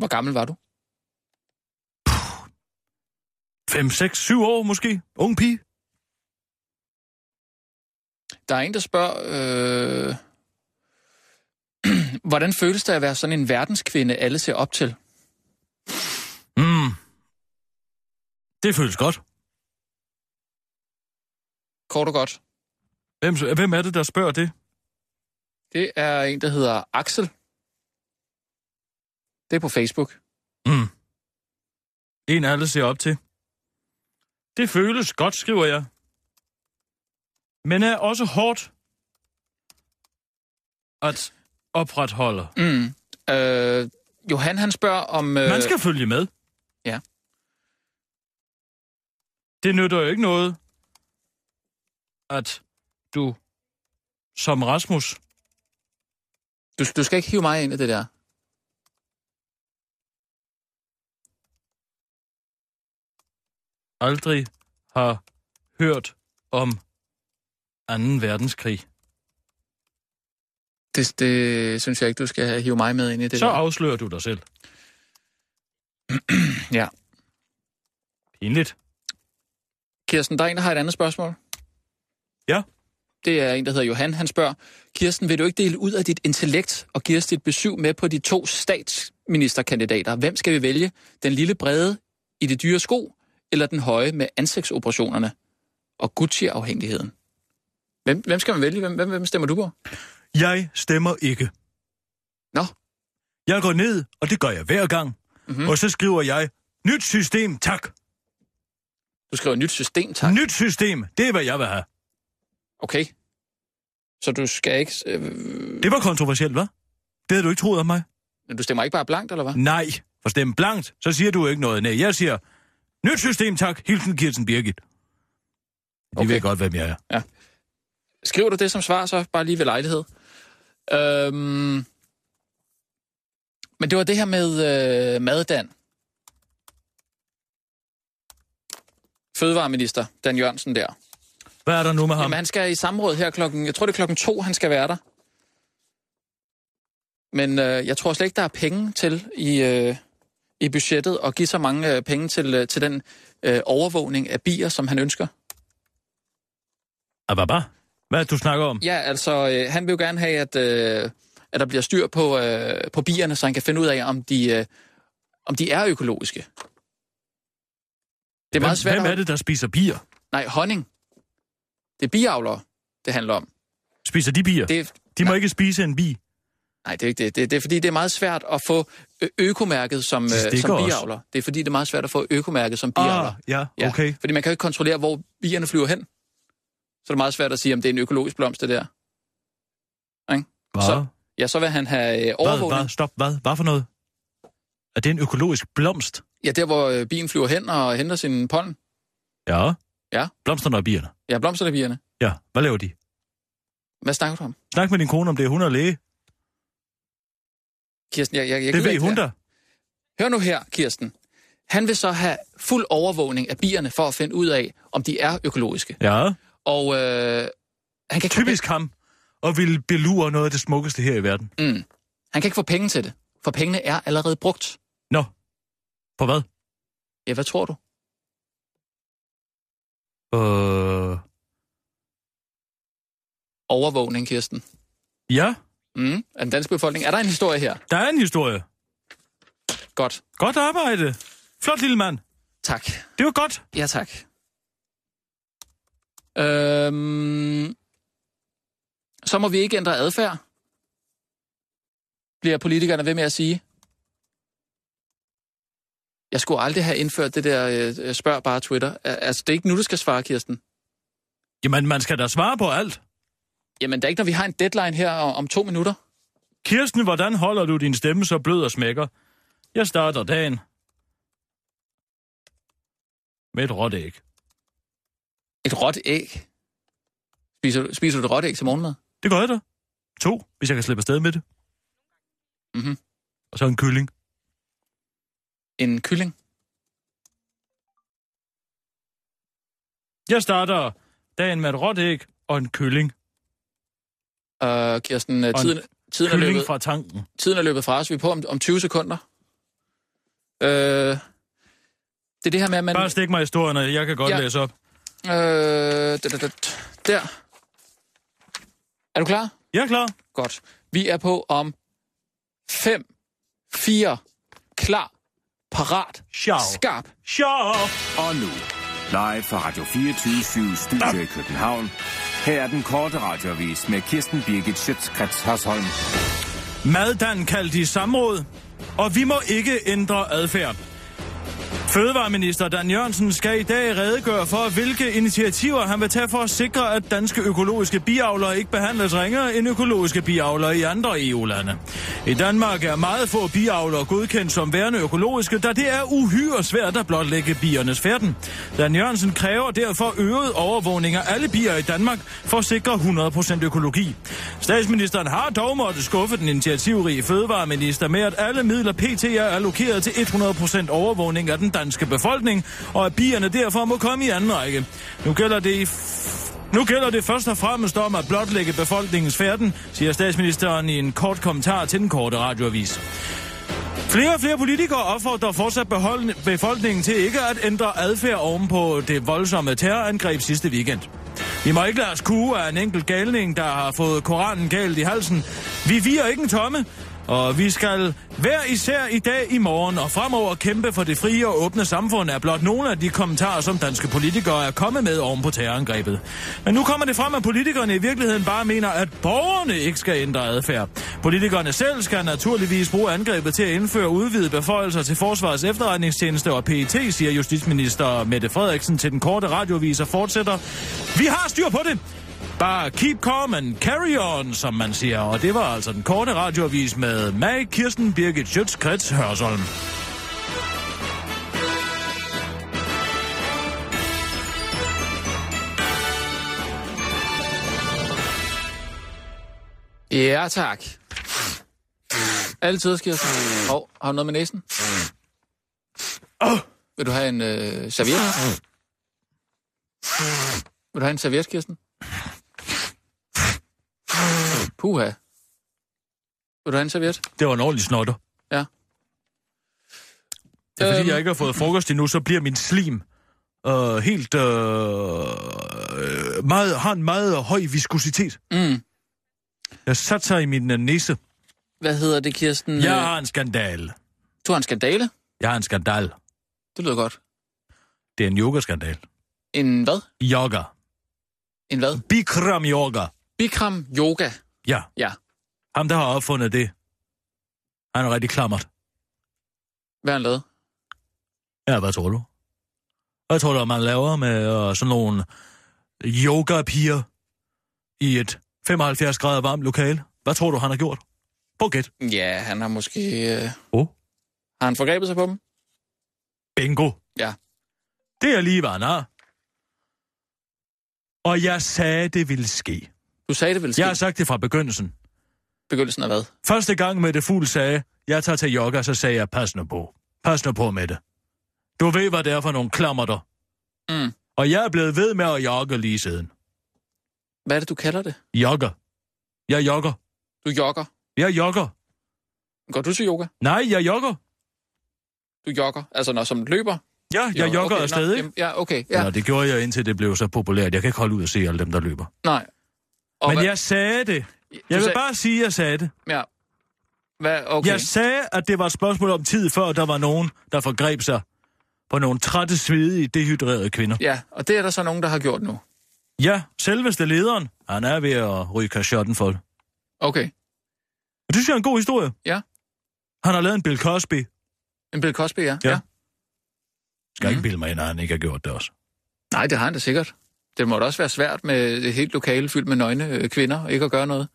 Hvor gammel var du? 5, 6, 7 år måske. Ung pige. Der er en, der spørger, øh... hvordan føles det at være sådan en verdenskvinde, alle ser op til? Mm. Det føles godt. Kort og godt. Hvem, hvem er det, der spørger det? Det er en, der hedder Axel. Det er på Facebook. Mm. En alle ser op til. Det føles godt, skriver jeg. Men er også hårdt at opretholde. Mm. Øh, Johan, han spørger om... Øh... Man skal følge med. ja. Det nytter jo ikke noget, at du som Rasmus... Du, du skal ikke hive mig ind i det der. aldrig har hørt om 2. verdenskrig. Det, det synes jeg ikke, du skal hive mig med ind i det Så der. afslører du dig selv. Ja. Pinligt. Kirsten, der er en, der har et andet spørgsmål. Ja. Det er en, der hedder Johan. Han spørger, Kirsten, vil du ikke dele ud af dit intellekt og give os dit besøg med på de to statsministerkandidater? Hvem skal vi vælge? Den lille brede i det dyre sko, eller den høje med ansigtsoperationerne og Gucci-afhængigheden? Hvem, hvem skal man vælge? Hvem, hvem, hvem stemmer du på? Jeg stemmer ikke. Nå, Jeg går ned, og det gør jeg hver gang. Mhm. Mm-hmm. Og så skriver jeg, nyt system, tak. du skriver nyt system, tak. tak. Nyt system, det er, hvad jeg vil have. Okay. Så du skal ikke... Øh, Det var kontroversielt, hva'? Det havde du ikke troet om mig? du stemmer ikke bare blankt, eller hvad? Nej, for stemme blankt, så siger du ikke noget. Nej, jeg siger, nyt system, tak. Hilsen Kirsten Birgit. De okay. Okay. ved godt, hvem jeg er. Skriver du det som svar, så bare lige ved lejlighed. Øhm, men det var det her med øh, maddan. Fødevareminister Dan Jørgensen der. Hvad er der nu med ham? Jamen, han skal i samråd her klokken... Jeg tror, det er klokken to, han skal være der. Men øh, jeg tror slet ikke, der er penge til i, øh, i budgettet at give så mange øh, penge til, øh, til den øh, overvågning af bier, som han ønsker. Ah, hvad, hvad? Hvad er det, du snakker om? Ja, altså, øh, han vil jo gerne have, at, øh, at der bliver styr på, øh, på bierne, så han kan finde ud af, om de, øh, om de er økologiske. Det er meget svært Hvem at- er det, der spiser bier? Nej, honning. Det er biavlere, det handler om. Spiser de bier? Det, Ah. De må ikke spise en bi. nej, det er ikke det. det. Det er fordi, det er meget svært at få ø- økomærket som, øh, De som stikker også. biavler. Det er fordi, det er meget svært at få økomærket som biavler. ja, Ja, okay. Fordi man kan jo ikke kontrollere, hvor bierne flyver hen. Så er det meget svært at sige, om det er en økologisk blomst, det der. Hvad? Så- Ja, så vil han have øh, Hvad, overvågning. hvad, stop, hvad, hvad for noget? Er det en økologisk blomst? Ja, der hvor øh, bien flyver hen og henter sin pollen. Ja. Ja. Blomsterne og bierne. Ja, blomsterne bierne. Ja, hvad laver de? Hvad snakker du om? Snak med din kone om det, er hun er læge. Kirsten, jeg, jeg, jeg det gider ved ikke hun der. da. Hør nu her, Kirsten. Han vil så have fuld overvågning af bierne for at finde ud af, om de er økologiske. Ja, Og øh, han, kan ikke typisk ham. Og vil belure noget af det smukkeste her i verden. Få, mm, han kan ikke få penge til det, for pengene er allerede brugt. Nå, på hvad? Ja, hvad tror du? Øh, Overvågning, Kirsten. ja, Mm, af den danske befolkning. Er der en historie her? der er en historie. Godt. Godt arbejde. Flot lille mand. Tak. Det var godt. Ja, tak. Øhm, så må vi ikke ændre adfærd, bliver politikerne ved med at sige. Jeg skulle aldrig have indført det der øh, spørg bare Twitter. Al- Altså, det er ikke nu, du skal svare, Kirsten. Jamen, man skal da svare på alt. Jamen, det er ikke, når vi har en deadline her o- om to minutter. Kirsten, hvordan holder du din stemme så blød og smækker? Jeg starter dagen med et råt æg. Et råt æg. Spiser du, spiser du et råt æg til morgenmad? Det gør jeg da. To, hvis jeg kan slippe afsted med det. Mhm. Og så en kylling. En kylling? Jeg starter dagen med et råt æg og en kylling. Øh, Kirsten, øh, Og en tiden, tiden er Kylling løbet. fra tanken. Tiden er løbet fra os. Vi er på om, om 20 sekunder. Øh, det er det her med, at man... Bare stik mig historien, og jeg kan godt Ja. ja. læse op. Øh, da, da, da, der. Er du klar? Jeg er klar. Godt. Vi er på om 5, 4, klar, parat, Ciao. skarp. Ciao. Og nu, live fra Radio 24 Ah. Studio i København. Her er den korte radiovis med Kirsten Birgit Schøtzgrads Hasholm. Maddan kaldt i samråd, og vi må ikke ændre adfærd. Fødevareminister Dan Jørgensen skal i dag redegøre for, hvilke initiativer han vil tage for at sikre, at danske økologiske biavlere ikke behandles ringere end økologiske biavlere i andre EU-lande. I Danmark er meget få biavlere godkendt som værende økologiske, da det er uhyre svært at blotlægge biernes færden. Dan Jørgensen kræver derfor øget overvågning af alle bier i Danmark for at sikre 100% økologi. Statsministeren har dog måttet skuffe den initiativrige fødevareminister med, at alle midler PT er allokeret til 100% overvågning af den danske befolkning, og at bierne derfor må komme i anden række. Nu gælder det i f- Nu gælder det først og fremmest om at blotlægge befolkningens færden, siger statsministeren i en kort kommentar til den korte radioavis. Flere og flere politikere opfordrer fortsat beholden- befolkningen til ikke at ændre adfærd oven på det voldsomme terrorangreb sidste weekend. Vi må ikke lade os kue af en enkelt galning, der har fået koranen galt i halsen. Vi virer ikke en tomme, og vi skal hver især i dag, i morgen og fremover kæmpe for det frie og åbne samfund er blot nogle af de kommentarer, som danske politikere er kommet med oven på terrorangrebet. Men nu kommer det frem, at politikerne i virkeligheden bare mener, at borgerne ikke skal ændre adfærd. Politikerne selv skal naturligvis bruge angrebet til at indføre udvidede beføjelser til Forsvarets efterretningstjeneste og PET, siger justitsminister Mette Frederiksen til den korte radiovis og fortsætter. Vi har styr på det! Bare keep calm and carry on, som man siger. Og det var altså den korte radioavis med mig, Kirsten Birgit Schøtz-Krets Hørsholm. Ja, tak. Altid, Kirsten. Hov, har du noget med næsen? Vil du have en øh, serviet? Vil du have en serviet, Kirsten? Puha. Vil du have en serviet? Det var en ordentlig snotter. Ja. Det er fordi, Øhm. jeg ikke har fået frokost endnu, så bliver min slim øh, helt... Øh, øh, meget, har en meget høj viskositet. Mm. Jeg satte sig i min øh, næse. Hvad hedder det, Kirsten? Jeg har en skandal. Du har en skandale? Jeg har en skandal. Det lyder godt. Det er en yogaskandal. En hvad? Yoga. En hvad? Bikram yoga. Bikram yoga. Ja. Ja. Ham, der har opfundet det, han er rigtig klammert. Hvad har han lavet? Ja, hvad tror du? Hvad tror du, man laver med uh, sådan nogle yoga-piger i et 75 grader varmt lokale? Hvad tror du, han har gjort? På gæt. Ja, han har måske... Øh... Åh. Har han forgrebet sig på dem? Bingo. Ja. Det er lige, hvad han har. Og jeg sagde, det ville ske. Du sagde det vel Jeg ske? har sagt det fra begyndelsen. Begyndelsen af hvad? Første gang Mette Fugl sagde, jeg tager til yoga, så sagde jeg, pas nu på. Pas nu på, Mette. Du ved, hvad det er for nogle klammerter. Mm. Og jeg er blevet ved med at jogge lige siden. Hvad er det, du kalder det? Jogger. Jeg jogger. Du jogger. Jeg jogger. Går du til yoga? Nej, jeg jogger. Du jogger. Altså, når som løber? Ja, jeg jogger, jogger nå, okay, afsted, ikke? jamen, Ja, okay. Ja. Ja. Nå, det gjorde jeg, indtil det blev så populært. Jeg kan ikke holde ud og se alle dem, der løber. Nej. Og Men hvad, jeg sagde det. du Jeg vil sagde- bare sige, at jeg sagde det. Ja. Hvad, okay. Okay. Jeg sagde, at det var et spørgsmål om tid, før der var nogen, der forgreb sig på nogle trætte, svedige, dehydrerede kvinder. Ja, og det er der så nogen, der har gjort nu. Ja, selveste lederen. Han er ved at ryge kashotten for det. Okay. Og det synes jeg er en god historie. Ja. Han har lavet en Bill Cosby. En Bill Cosby, ja. Ja. Skal mm. Mhm. ikke bilde mig ind, at han ikke har gjort det også. Nej, det har han da sikkert. Det må da også være svært med et helt lokale fyldt med nøgne øh, kvinder, ikke at gøre noget.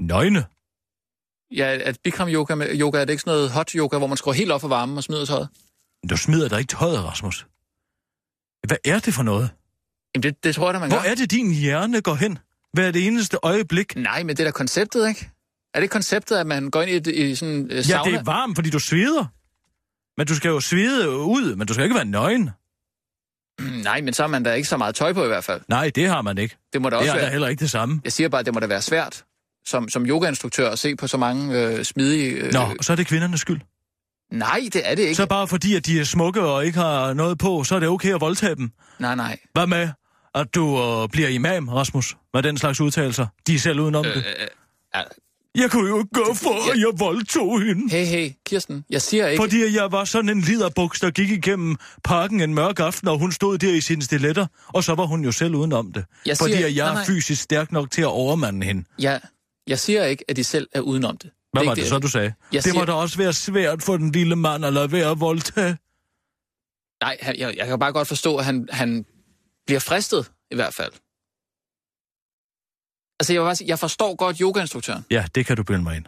Nøgne. Ja, at Bikram yoga, med- yoga, er det ikke sådan noget hot yoga, hvor man skruer helt op for varmen og smider tøjet? Men Du smider dig ikke tøjet, Rasmus. Hvad er det for noget? Jamen, det, det tror jeg da, man Hvor gør. er det, din hjerne går hen? Hvad er det eneste øjeblik? Nej, men det er da konceptet, ikke? Er det ikke konceptet, at man går ind i, et, i sådan en øh, Ja, sauna? det er varmt, fordi du sveder. Men du skal jo svede ud, men du skal ikke være nøgen. Nej, men så har man da ikke så meget tøj på i hvert fald. Nej, det har man ikke. Det må da Det også er da være. heller ikke det samme. Jeg siger bare, at det må da være svært som, som yogainstruktør at se på så mange øh, smidige... Øh, Nå, og så er det kvindernes skyld. Nej, det er det ikke. Så bare fordi, at de er smukke og ikke har noget på, så er det okay at voldtage dem. Nej, nej. Hvad med, at du øh, bliver imam, Rasmus? Med den slags udtalelser. De er selv udenom øh, det. ja. Jeg kunne jo ikke gøre for, at jeg voldtog hende. Hey, hey, Kirsten, jeg siger ikke... Fordi jeg var sådan en liderbuks, der gik igennem parken en mørk aften, og hun stod der i sine stiletter, og så var hun jo selv udenom det. Jeg Jeg fordi siger- at jeg nej, er nej. fysisk stærk nok til at overmande hende. Ja, jeg siger ikke, at de selv er udenom det. Hvad er var ikke det så, du sagde? Jeg Jeg det må siger- da også være svært for den lille mand at lade være at voldtage. Nej, han- jeg, jeg kan bare godt forstå, at han, han bliver fristet, i hvert fald. Altså, jeg, vil bare sige, jeg forstår godt yogainstruktøren. Ja, det kan du bilde mig ind.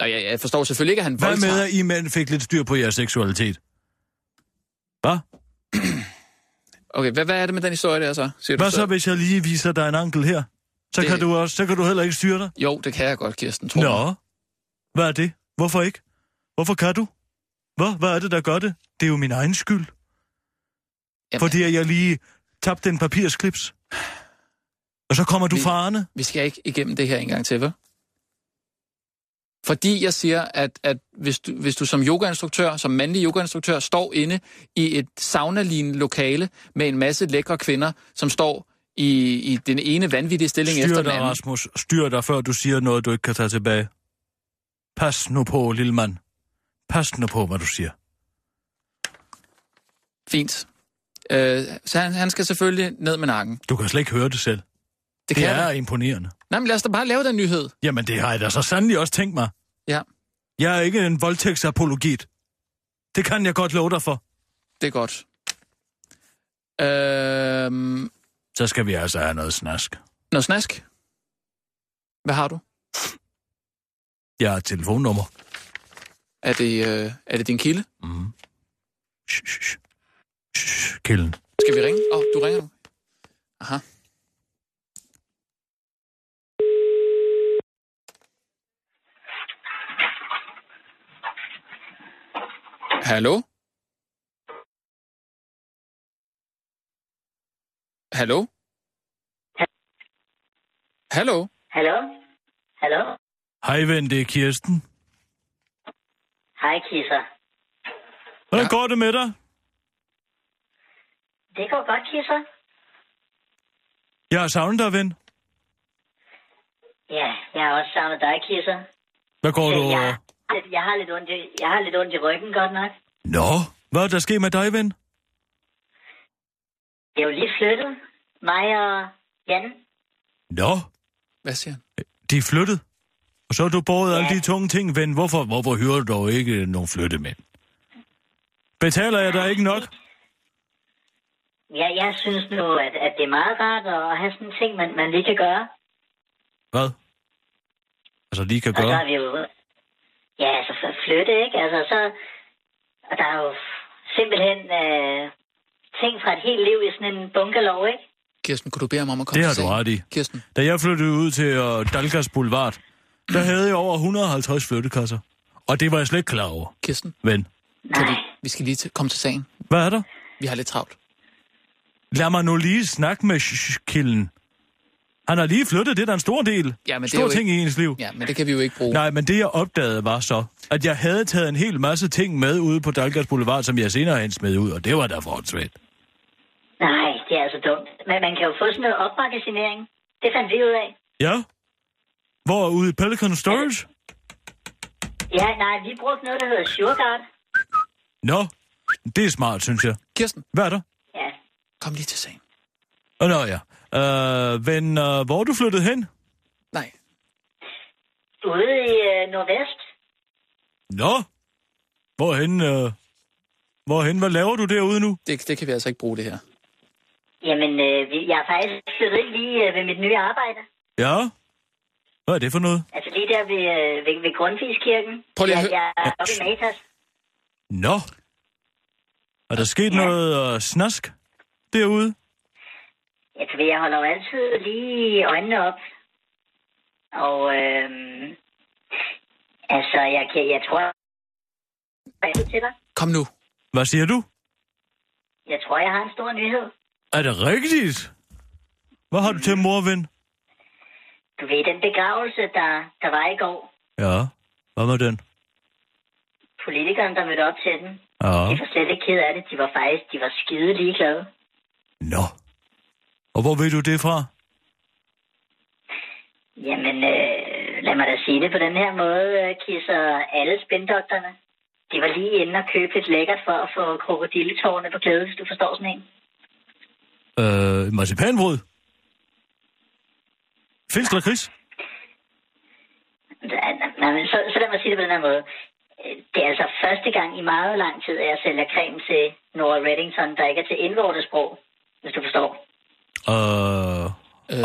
Og jeg, jeg forstår selvfølgelig ikke, at han Hvad voldtager. med, at I mænd fik lidt styr på jeres seksualitet? Hvad? Okay, hvad, hvad er det med den historie der så? Siger Hvad du så, hvis jeg lige viser dig en ankel her? Så, Det- det... kan, du også, så kan du heller ikke styre dig. Jo, det kan jeg godt, Kirsten, tror jeg. Nå. Hvad er det? Hvorfor ikke? Hvorfor kan du? Hvad? Hvad er det, der gør det? Det er jo min egen skyld. Jamen- Fordi at jeg lige tabte en papirsklips. Og så kommer du Vi- farne. Vi skal ikke igennem det her engang til, vel? Fordi jeg siger, at, at hvis, du, hvis du som yogainstruktør, som mandlig yogainstruktør, står inde i et sauna-lignende lokale med en masse lækre kvinder, som står i, i den ene vanvittige stilling Styr efter den dig, anden. Rasmus. Styr dig, før du siger noget, du ikke kan tage tilbage. Pas nu på, lille mand. Pas nu på, hvad du siger. Fint. Øh, så han, han skal selvfølgelig ned med nakken. Du kan slet ikke høre det selv. Det Det kan er jeg. imponerende. Nej, men lad os da bare lave den nyhed. Jamen, det har jeg da så sandelig også tænkt mig. Ja, Jeg er ikke en voldtægtsapologit. Det kan jeg godt love dig for. det er godt. Øh, Så skal vi altså have noget snask. noget snask? Hvad har du? Jeg har et telefonnummer. Er det, øh, er det din kilde? Mhm. Shh, shh, shh. Shh, Kilden. Skal vi ringe? Åh, oh, du ringer nu. Aha. Hallo? Hallo? Hallo? Hallo? Hallo? Hej, ven, det er Kirsten. Hej, Kisser. Hvordan går det med dig? Det går godt, Kisser. Jeg har savnet dig, ven. Ja, jeg har også savnet dig, Kisser. Hvad går du øh, Men over? jeg, jeg, har lidt ondt i, jeg har lidt ondt i ryggen, godt nok. Nå, hvad er der sket med dig, ven? Jeg er jo lige flyttet. Mig og Jan. Nå, Hvad siger han? de er flyttet. Og så har du båret ja. alle Ja. de tunge ting, ven. Hvorfor, hvorfor hyrer du dog ikke nogen flyttemænd? Betaler jeg dig ikke nok? Ja, jeg synes nu, at, at det er meget rart at have sådan en ting, man, man lige kan gøre. Hvad? Altså, lige kan Og så gøre. er vi jo... Ja, altså f- flytte, ikke? Altså så... Og der er jo simpelthen øh, ting fra et helt liv i sådan en bungalow, ikke? Kirsten, kunne du bede ham om at komme Det har til du sagen? ret i. Kirsten, Da jeg flyttede ud til uh, Dalgas Boulevard, der havde jeg over 150 flyttekasser. Og det var jeg slet ikke klar over, Kirsten, ven. kan vi, Nej, vi skal lige til, komme til sagen. Hvad er der? Vi har lidt travlt. Lad mig nu lige snakke med sh- sh- kilden. Han har lige flyttet, det er da en stor del. Ja, men det er stor jo ting i ens liv. Ja, men det kan vi jo ikke bruge. Nej, men det jeg opdagede var så, at jeg havde taget en hel masse ting med ude på Dalgas Boulevard, som jeg senere hen smed ud, og det var da forholdsvendt. nej, det er altså dumt. Men man kan jo få sådan noget opmagasinering. Det fandt vi ud af. Ja? Hvor ude i Pelican Storage? Ja, nej, vi brugte noget, der hedder Sureguard. Nå, det er smart, synes jeg. Kirsten, Hvad er der? Ja. kom lige til sagen. Åh, nå ja. Øh, ven, øh, hvor er du flyttet hen? Nej, Ude i øh, Nordvest. Nå, hvorhen, øh, hvorhen, hvad laver du derude nu? det, det kan vi altså ikke bruge det her. Jamen, øh, vi- jeg er faktisk flyttet ind lige øh, ved mit nye arbejde. Ja, hvad er det for noget? Altså lige der ved, øh, ved, ved Grundtvigskirken. Prøv lige at jeg, høre- jeg er oppe i Matas. Nå, er der sket noget øh, snask derude? Jeg, tror, jeg holder jo altid lige øjnene op. Og øh, altså, jeg, kan- jeg tror, jeg til dig. Kom nu. Hvad siger du? Jeg tror, jeg har en stor nyhed. Er det rigtigt? Hvad har du til morven? Du ved, den begravelse, der, der var i går. Ja, hvad med den? Politikerne, der mødte op til den, Ja. de var slet ikke ked af det. De var faktisk, de var skide ligeglade. Nå. Og hvor ved du det fra? Jamen, øh, lad mig da sige det på den her måde, øh, kisser alle spindokterne. De var lige inde og købe lidt lækkert for at få krokodilletårne på glæde, hvis du forstår sådan en. Øh, marcipanbrød? Findes der kris? Nej, men så, så lad mig sige det på den her måde. Øh, Det er altså første gang i meget lang tid, at jeg sælger creme til Nora Reddington, der ikke er til indvortes sprog, hvis du forstår. Øh,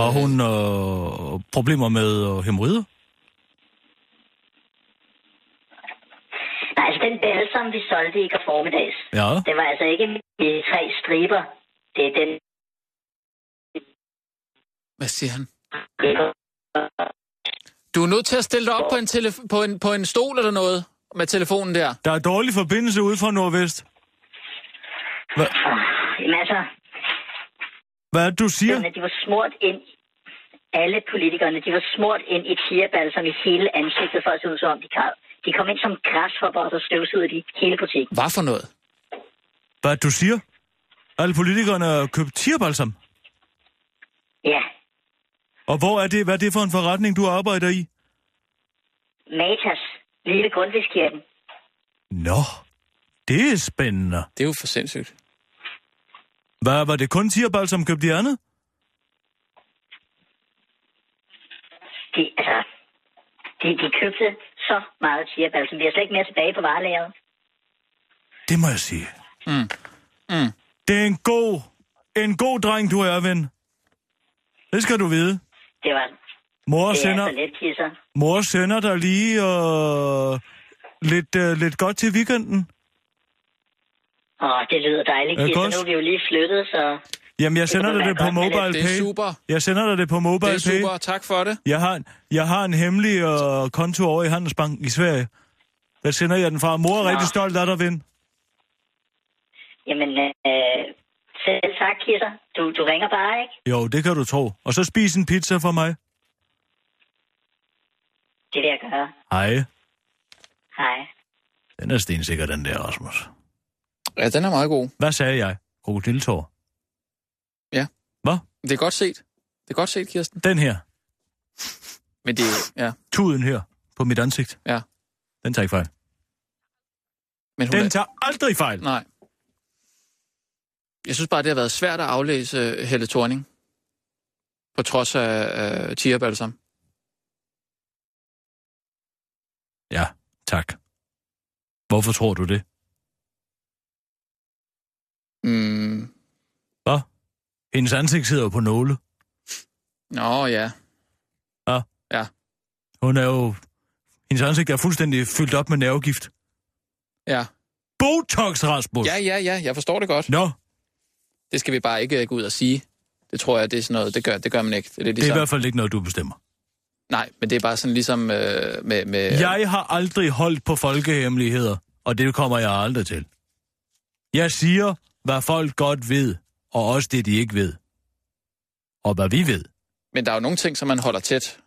har hun øh, problemer med øh, hemorrider? Nej, altså den bælle, som vi solgte i går formiddags, Ja. det var altså ikke de tre striber. Det er den Hvad siger han? striber. Du er nødt til at stille dig op på en, telef- på en, på en stol eller noget med telefonen der. Der er dårlig forbindelse ude fra Nordvest. Jamen altså, Hvad er det, du siger? Jamen, de var smurt ind. Alle politikerne, de var smurt ind i tierbalsam i hele ansigtet for at se ud som om de krav. De kom ind som græshopper, og så støvsugede de hele butikken. Hvad for noget? Hvad er det, du siger? Alle politikerne har købt tierbalsam. Ja, Og hvor er det, hvad er det for en forretning, du arbejder i? Matas, lige ved Grundtvigskirken. Nå, det er spændende. Det er jo for sindssygt. Hvad var det kun tierbalsam købte i andet? De, altså, de, de købte så meget tierbalsam. Vi har slet ikke mere tilbage på varelageret. Det må jeg sige. Mm. Mm. Det er en god, en god dreng, du er, ven. Det skal du vide. Det var Mor det er altså- sender, så let, kisser. mor sender dig lige øh, lidt, øh, lidt godt til weekenden. Åh, det lyder dejligt, Ja, kisser. godt. Nu er vi jo lige flyttet, så Jamen, jeg sender kunne dig være det på godt, men det- MobilePay. Det er super. Jeg sender dig det på Det MobilePay. er super. Tak for det. Jeg har, en- jeg har en hemmelig øh, konto over i Handelsbanken i Sverige. Der sender jeg den fra. Mor er rigtig stolt af dig, ven. jamen, øh, selv tak, kisser. Du, du ringer bare, ikke? Jo, det kan du tro. Og så spis en pizza for mig. Det vil jeg gøre. Hej. Hej. Den er stensikker, den der, Rasmus. Ja, den er meget god. Hvad sagde jeg? Krokodiltår. Det er godt set. Det er godt set, Kirsten. Den her. Men det ja. Tuden her. På mit ansigt. Ja. Den tager ikke fejl. Men hun Den er, tager aldrig fejl. nej. Jeg synes bare, det har været svært at aflæse øh, Helle Thorning. På trods af øh, tierbalsam. Ja, tak. Hvorfor tror du det? Mm. Hvad? Hendes ansigt sidder jo på nåle. Nå ja. Hun er jo... Hendes ansigt er fuldstændig fyldt op med nervegift. ja. Botox, Rasmus! Ja, ja, ja. Jeg forstår det godt. Nå, Det skal vi bare ikke øh, gå ud og sige. Det tror jeg, det er sådan noget, det gør, det gør man ikke. Det er lidt det er ligesom, i hvert fald ikke noget, du bestemmer. Nej, men det er bare sådan ligesom øh, med... med Jeg har aldrig holdt på folkehemmeligheder, og det kommer jeg aldrig til. Jeg siger, hvad folk godt ved, og også det, de ikke ved. Og hvad vi ved. Men der er jo nogle ting, som man holder tæt.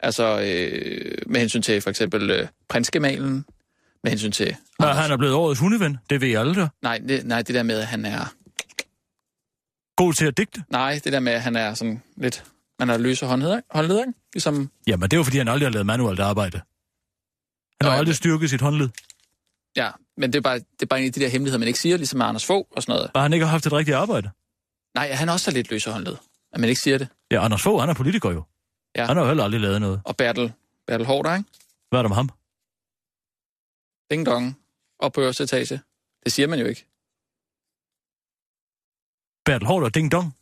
Altså øh, med hensyn til for eksempel øh, prinsgemalen, med hensyn til... Og han er blevet årets hundeven, det ved jeg aldrig. Nej, det, nej, det der med, at han er... God til at digte. Nej, det der med, at han er sådan lidt... Man har løse håndleder, håndleder ikke? Ligesom... Jamen, det er jo, fordi han aldrig har lavet manuelt arbejde. Han har Nå, aldrig styrket sit håndled, Ja, men det er, bare, det er bare en af de der hemmeligheder, man ikke siger, ligesom med Anders Fogh og sådan noget. og han ikke har haft et rigtigt arbejde. Nej, han er også lidt løse håndled, at man ikke siger det. Ja, Anders Fogh, han er politiker jo. Ja. Han har jo heller aldrig lavet noget. Og Bertel, Bertel Hårder, ikke? Hvad er der med ham? Ding dong. Op på øverste etage. Det siger man jo ikke. Bertel Hård og Ding Dong.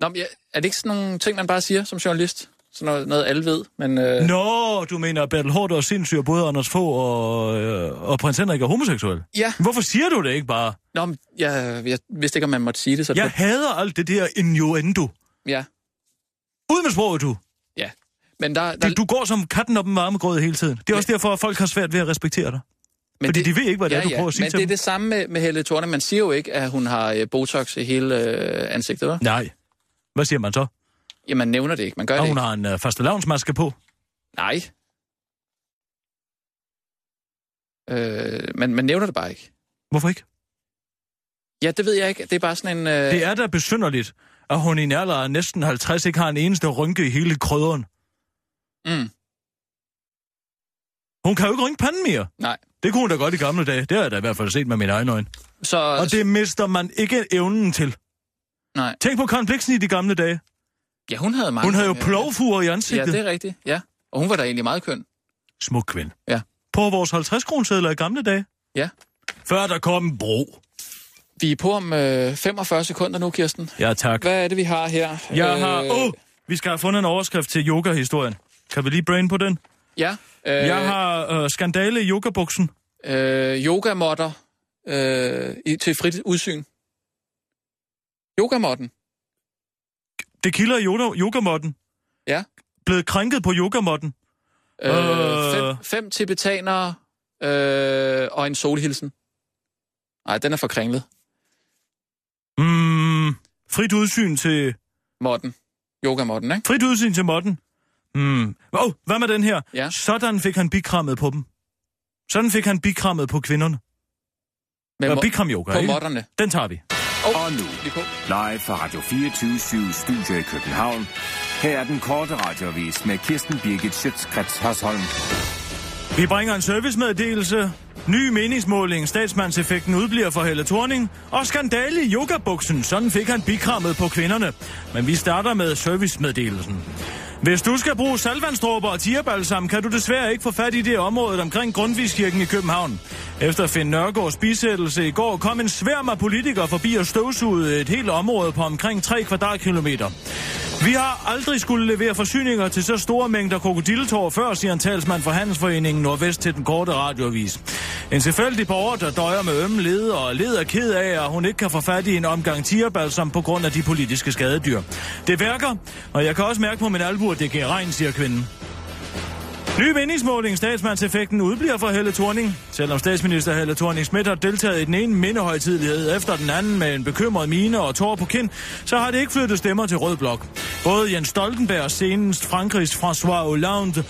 Nå, men ja, er det ikke sådan nogle ting, man bare siger som journalist? Sådan noget, noget alle ved, men... Øh, Nå, du mener, at Bertel Hård og sindssyg, og både Anders Fogh og, øh, og prins Henrik er homoseksuel? Ja. Hvorfor siger du det ikke bare? Nå, men jeg, jeg vidste ikke, om man måtte sige det, så... Jeg hader alt det der innuendo. ja. Ud med sproget, du. ja. Men der... der Du, du går som katten op en varmegrød hele tiden. Det er også derfor, at folk har svært ved at respektere dig. men fordi de ved ikke, hvad det er, du prøver at sige men til det er dem. det samme med, med Helle Thorne. Man siger jo ikke, at hun har øh, botox i hele øh, ansigtet, hva'? Nej. Hvad siger man så? Ja, man nævner det ikke. Man gør Og det hun ikke. har en øh, fastelavnsmaske på. Nej. Øh, man, man nævner det bare ikke. Hvorfor ikke? Ja, det ved jeg ikke. Det er bare sådan en... Øh, Det er da besynderligt, at hun i en alder af næsten 50 ikke har en eneste rynke i hele krødderen. mm, Hun kan jo ikke rynke panden mere. nej. Det kunne hun da godt i gamle dage. Det har jeg da i hvert fald set med mine egne øjne. Så, Og det mister man ikke evnen til. Nej. Tænk på Karen Blixen i de gamle dage. Ja, hun havde mange... Hun havde jo øh, plovfuger i Ja, ansigtet. det er rigtigt. Ja. Og hun var da egentlig meget køn. smuk kvinde. Ja. På vores 50 kronesedler i gamle dage. Ja. Før der kom en bro. Vi er på om øh, 45 sekunder nu, Kirsten. Ja, tak. Hvad er det, vi har her? Øh, Jeg har... Åh, oh, vi skal have fundet en overskrift til yoga-historien. Kan vi lige brain på den? Ja. Øh, Øh. Jeg har øh, skandale i yogabuksen. øh, yogamotter øh, i, til frit udsyn. Yogamotten. Det kilder i yoga- yogamotten. Ja. Blevet krænket på yogamotten. Øh, Øh. fem, fem tibetanere øh, og en solhilsen. Nej, den er for kringlet. Mm, Frit udsyn til... Morten. Yoga Morten, ikke? Frit udsyn til Morten. Hmm. Åh, oh, hvad med den her? Ja. Sådan fik han bikrammet på dem. Sådan fik han bikrammet på kvinderne. Med Eller Mor- bikram-yoga, På ikke? Morterne. Den tager vi. Og nu, Lige på. live fra Radio 24 Studio i København. Her er den korte radiovis med Kirsten Birgit Schøtzgrads Hasholm. Vi bringer en servicemeddelelse. Ny meningsmåling. Statsmandseffekten udbliver for Helle Thorning. Og skandale i yogabuksen. Sådan fik han bikrammet på kvinderne. Men vi starter med servicemeddelelsen. Hvis du skal bruge salvandstråber og tierbalsam, kan du desværre ikke få fat i det område omkring Grundtvigskirken i København. Efter Finn Nørgaards bisættelse i går kom en sværm af politikere forbi og støvsugede et helt område på omkring 3 kvadratkilometer. Vi har aldrig skulle levere forsyninger til så store mængder krokodilletår før, siger en talsmand for Handelsforeningen Nordvest til den korte radioavis. En tilfældig borger, der døjer med ømme led og led er ked af, at hun ikke kan få fat i en omgang tierbalsam på grund af de politiske skadedyr. Det værker, og jeg kan også mærke på min albu, at det giver regn, siger kvinden. Ny meningsmåling. Statsmandseffekten udbliver for Helle Thorning. Selvom statsminister Helle thorning Schmidt har deltaget i den ene mindehøjtidlighed efter den anden med en bekymret mine og tårer på kind, så har det ikke flyttet stemmer til Rød Blok. Både Jens Stoltenberg og senest Frankrigs François Hollande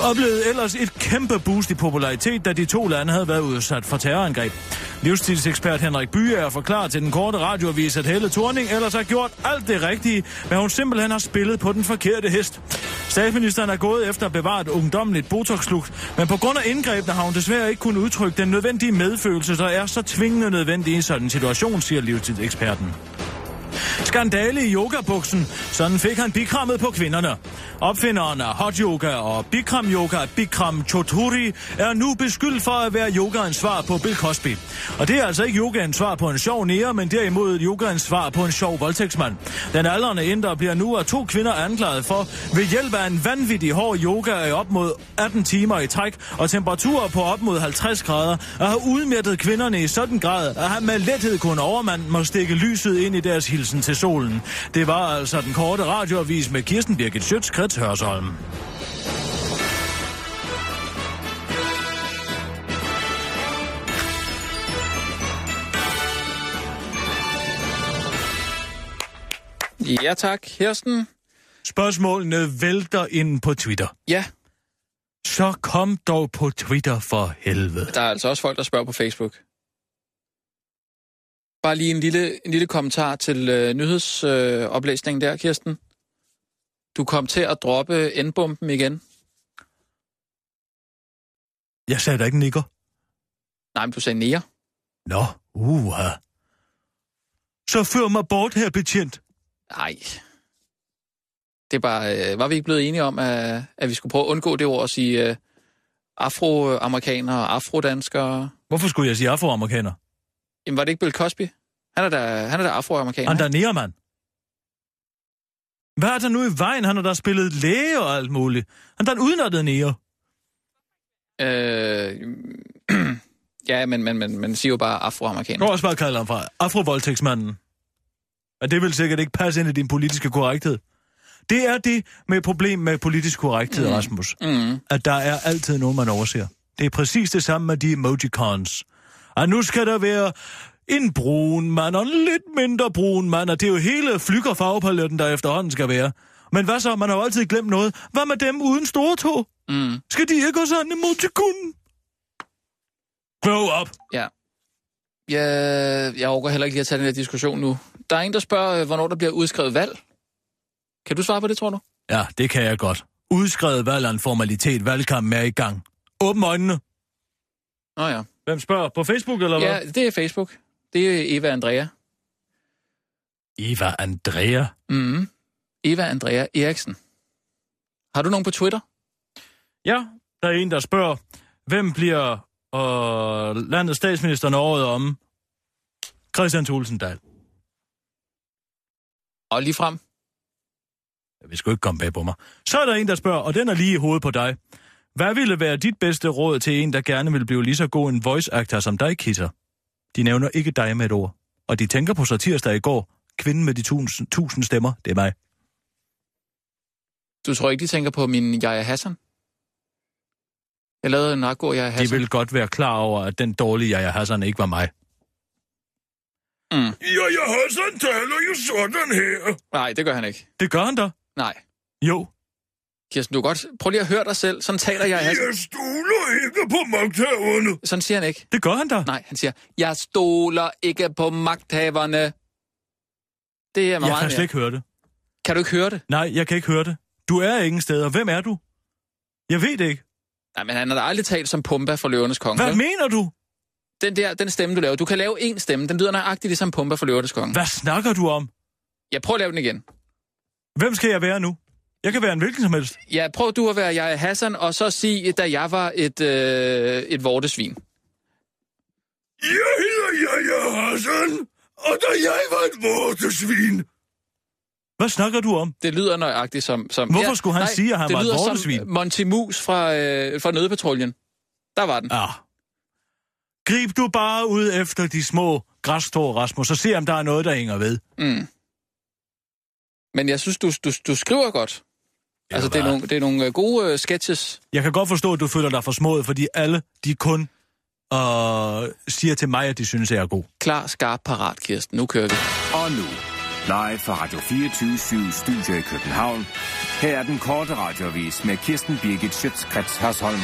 oplevede ellers et kæmpe boost i popularitet, da de to lande havde været udsat for terrorangreb. Livsstilsekspert Henrik Byer forklarer til den korte radioavis, at Helle Thorning ellers har gjort alt det rigtige, men hun simpelthen har spillet på den forkerte hest. Statsministeren er gået efter at bevare et ungdomligt botoxlugt, men på grund af indgrebene har hun desværre ikke kunnet udtrykke den nødvendige medfølelse, der er så tvingende nødvendig i en sådan situation, siger livstidseksperten. Skandale i yogabuksen. Sådan fik han bikrammet på kvinderne. Opfinderen af hot yoga og bikram yoga, Bikram Choudhury, er nu beskyldt for at være yogaens svar på Bill Cosby. Og det er altså ikke yogaens svar på en sjov nære, men derimod yogaens svar på en sjov voldtægtsmand. Den aldrende inder bliver nu af to kvinder anklaget for ved hjælp af en vanvittig hård yoga i op mod 18 timer i træk og temperaturer på op mod 50 grader at have udmættet kvinderne i sådan grad, at han med lethed kunne overmanden må stikke lyset ind i deres hilsen til solen. Det var altså den korte radioavis med Kirsten Birgit Schøtz, Krets Hørsholm. Ja tak, Kirsten. Spørgsmålene vælter ind på Twitter. Ja, Så kom dog på Twitter for helvede. der er altså også folk, der spørger på Facebook. Bare lige en lille, en lille kommentar til øh, nyhedsoplæsningen øh, oplæsningen der, Kirsten. Du kom til at droppe endbomben igen. Jeg sagde da ikke nikker. Nej, men du sagde nære. Nå, uha. Så før mig bort, her betjent. Nej. Det er bare, øh, var vi ikke blevet enige om, at, at vi skulle prøve at undgå det ord og sige øh, afroamerikanere og afrodanskere? Hvorfor skulle jeg sige afroamerikaner? Jamen, var det ikke Bill Cosby? Han er da, han er da afroamerikaner. Han der nære, mand. Hvad er der nu i vejen? Han har da spillet læge og alt muligt. Han der er en udnattet nære. Øh, ja, men, men, men man siger jo bare Jeg afroamerikaner. kan også bare kalde ham for afrovoldtægtsmanden. Men det vil sikkert ikke passe ind i din politiske korrekthed. Det er det med et problem med politisk korrekthed, mm. Rasmus. Mm. At der er altid nogen, man overser. Det er præcis det samme med de emojicons. Og nu skal der være en brun mand og en lidt mindre brun mand, og det er jo hele flyg- og farvepaletten, der efterhånden skal være. Men hvad så? Man har jo altid glemt noget. Hvad med dem uden store tog? Mm. Skal de ikke også have en emoticon? Grow up. Ja. Jeg, jeg overgår heller ikke lige at tage den her diskussion nu. Der er en, der spørger, øh, hvornår der bliver udskrevet valg. Kan du svare på det, tror du? Ja, det kan jeg godt. Udskrevet valg er en formalitet. Valgkampen er i gang. Åbn øjnene. Nå ja. Hvem spørger? På Facebook, eller hvad? Ja, det er Facebook. Det er Eva Andrea. Eva Andrea. Mm. Eva Andrea Eriksen. Har du nogen på Twitter? Ja, der er en, der spørger, hvem bliver øh, landets statsminister når året om? Christian Tulsendal. Og lige frem. Jeg vil sgu ikke komme bag på mig. Så er der en, der spørger, og den er lige i hovedet på dig. Hvad ville være dit bedste råd til en, der gerne vil blive lige så god en voice actor som dig, Kisser? De nævner ikke dig med et ord. Og de tænker på satirsdag i går. Kvinden med de tusind, tusind stemmer, det er mig. Du tror ikke, de tænker på min Jaja Hassan? Jeg lavede en ret god Jaja De Hassan. vil godt være klar over, at den dårlige jeg har sådan ikke var mig. Mm. Ja, jeg har sådan taler jo sådan her. Nej, det gør han ikke. Det gør han da. Nej. Jo. Kirsten, du kan godt... Prøv lige at høre dig selv. Sådan taler jeg. Altså. Jeg stoler ikke på magthaverne. Sådan siger han ikke. Det gør han da. Nej, han siger, jeg stoler ikke på magthaverne. Det er meget jeg kan mere. slet ikke høre det. Kan du ikke høre det? Nej, jeg kan ikke høre det. Du er ingen steder. Hvem er du? Jeg ved det ikke. Nej, men han har da aldrig talt som Pumba fra Løvernes Konge. Hvad vel? mener du? Den der, den stemme, du laver. Du kan lave én stemme. Den lyder nøjagtigt ligesom Pumba fra Løvernes Konge. Hvad snakker du om? Jeg prøver at lave den igen. Hvem skal jeg være nu? Jeg kan være en hvilken som helst. Ja, prøv du at være jeg er Hassan, og så sige, da jeg var et, øh, et vortesvin. Jeg hedder Jaja Hassan, og da jeg var et vortesvin, Hvad snakker du om? Det lyder nøjagtigt som... som Hvorfor skulle han sige, at han det var et lyder vortesvin? Som Monty Mus fra, øh, fra Nødepatruljen. Der var den. Ah. Grib du bare ud efter de små græstår, Rasmus, og se, om der er noget, der hænger ved. Men jeg synes, du, du, du skriver godt. Altså, det er, hvad? nogle, det er nogle øh, gode øh, sketches. Jeg kan godt forstå, at du føler dig for smået, fordi alle, de kun øh, siger til mig, at de synes, jeg er god. Klar, skarp, parat, Kirsten. Nu kører vi. Og nu, live fra Radio 24 Studio i København. Her er den korte radiovis med Kirsten Birgit Schøtzgrads Hasholm.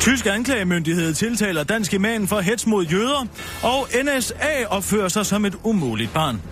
Tysk anklagemyndighed tiltaler dansk imam for hets mod jøder, og NSA opfører sig som et umuligt barn.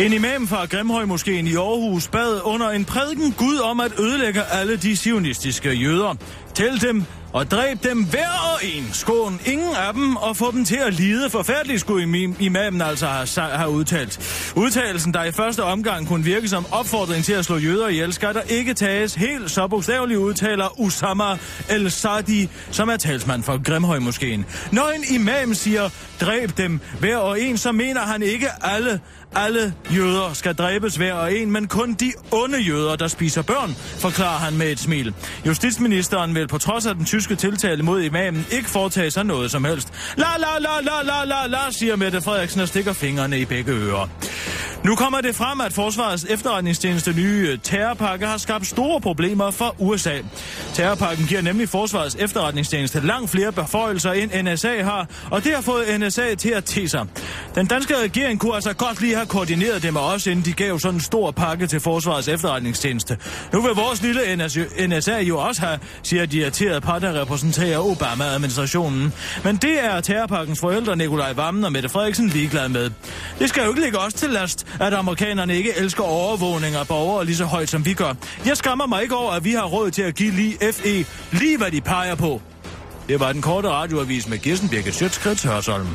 En imam fra Grimhøjmoskeen i Aarhus bad under en prædiken Gud om at ødelægge alle de sionistiske jøder. Tæl dem og dræb dem hver og en. Skån ingen af dem og få dem til at lide forfærdeligt, skulle imam- imamen altså have, sa- have udtalt. Udtalelsen, der i første omgang kunne virke som opfordring til at slå jøder ihjel, skal der ikke tages helt så bogstaveligt, udtaler Usama El-Sadi, som er talsmand for Grimhøjmoskeen. Når en imam siger, dræb dem hver og en, så mener han ikke alle, alle jøder skal dræbes hver og en, men kun de onde jøder, der spiser børn, forklarer han med et smil. Justitsministeren vil på trods af den tyske tiltale mod imamen ikke foretage sig noget som helst. La la la la la la la, siger Mette Frederiksen og stikker fingrene i begge ører. Nu kommer det frem, at Forsvarets efterretningstjeneste nye øh, terrorpakke har skabt store problemer for USA. Terrorpakken giver nemlig Forsvarets efterretningstjeneste langt flere beføjelser, end NSA har, og det har fået NSA til at te sig. Den danske regering kunne altså godt lige have koordineret det med os, inden de gav sådan en stor pakke til Forsvarets efterretningstjeneste. Nu vil vores lille NSA NSA jo også have, siger de irriterede par, der repræsenterer Obama-administrationen. Men det er terrorpakkens forældre Nikolaj Vammen og Mette Frederiksen ligeglade med. Det skal jo ikke ligge os til last, at amerikanerne ikke elsker overvågning af borgere lige så højt som vi gør. Jeg skammer mig ikke over, at vi har råd til at give lige FE lige hvad de peger på. Det var den korte radioavis med Kirsten Birgit Sjøtskrets Hørsholm.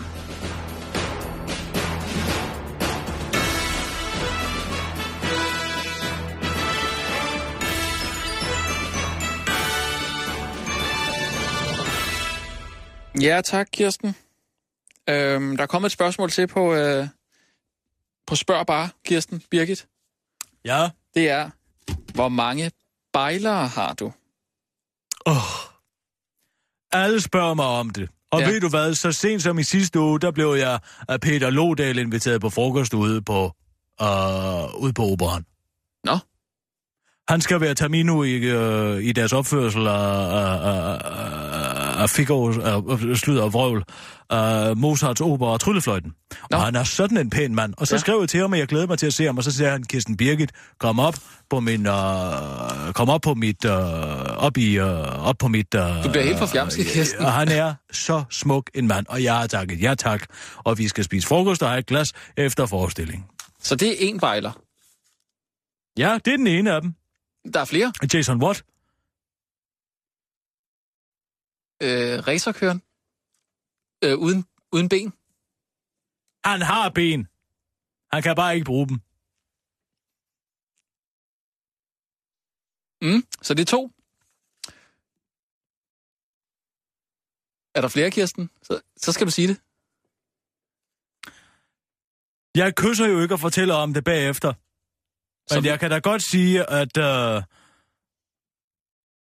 Ja, tak, Kirsten. Øhm, der er kommet et spørgsmål til på, øh, på Spørg Bare, Kirsten Birgit. Ja. Det er, hvor mange bejlere har du? Alle spørger mig om det. Og Ja. ja. ved du hvad, så sent som i sidste uge, der blev jeg af Peter Lodal inviteret på frokost ude på, øh, ude på operan. Nå. Han skal være Tamino i, øh, i deres opførsel af, af, af, af Figaro's af, af slud og vrøvl, af Mozarts opera og Tryllefløjten. Nå. Og han er sådan en pæn mand. Og så Ja. ja. skrev jeg til ham, at jeg glæder mig til at se ham, og så siger han, Kirsten Birgit, kom op på min, øh, kom op på mit, øh, op i, øh, op på mit, øh, Du bliver helt forfjamsket, Øh, Kirsten. Og han er så smuk en mand, og jeg har takket ja tak. Og vi skal spise frokost og have et glas efter forestillingen. Så det er én bejler. Ja, det er den ene af dem. Der er flere. Jason Watt. Øh, racerkøren. Øh, uden, uden ben. Han har ben. Han kan bare ikke bruge dem. Mm, så det er to. Er der flere, Kirsten? Så, så skal du sige det. Jeg kysser jo ikke og fortæller om det bagefter. Men Så- jeg kan da godt sige, at... Øh...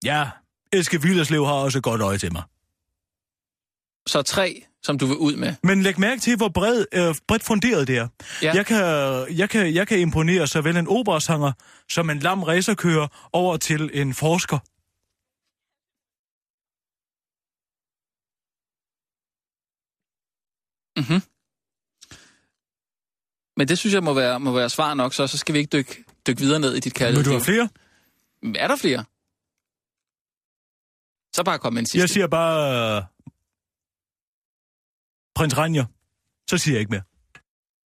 Ja, Eske Villerslev har også et godt øje til mig. Så tre, som du vil ud med. Men læg mærke til, hvor bred, øh, bredt funderet det er. Ja. Ja. Jeg, kan, jeg, kan, jeg kan imponere såvel en operasanger som en lam racerkører over til en forsker. Mhm. Mm-hmm. Men det synes jeg må være, må være svar nok, så, så skal vi ikke dykke, dykke videre ned i dit kærlighed. Vil du have flere? Er der flere? Så bare kom med en sidste. Jeg siger bare... øh, Prins Ranja. Så siger jeg ikke mere.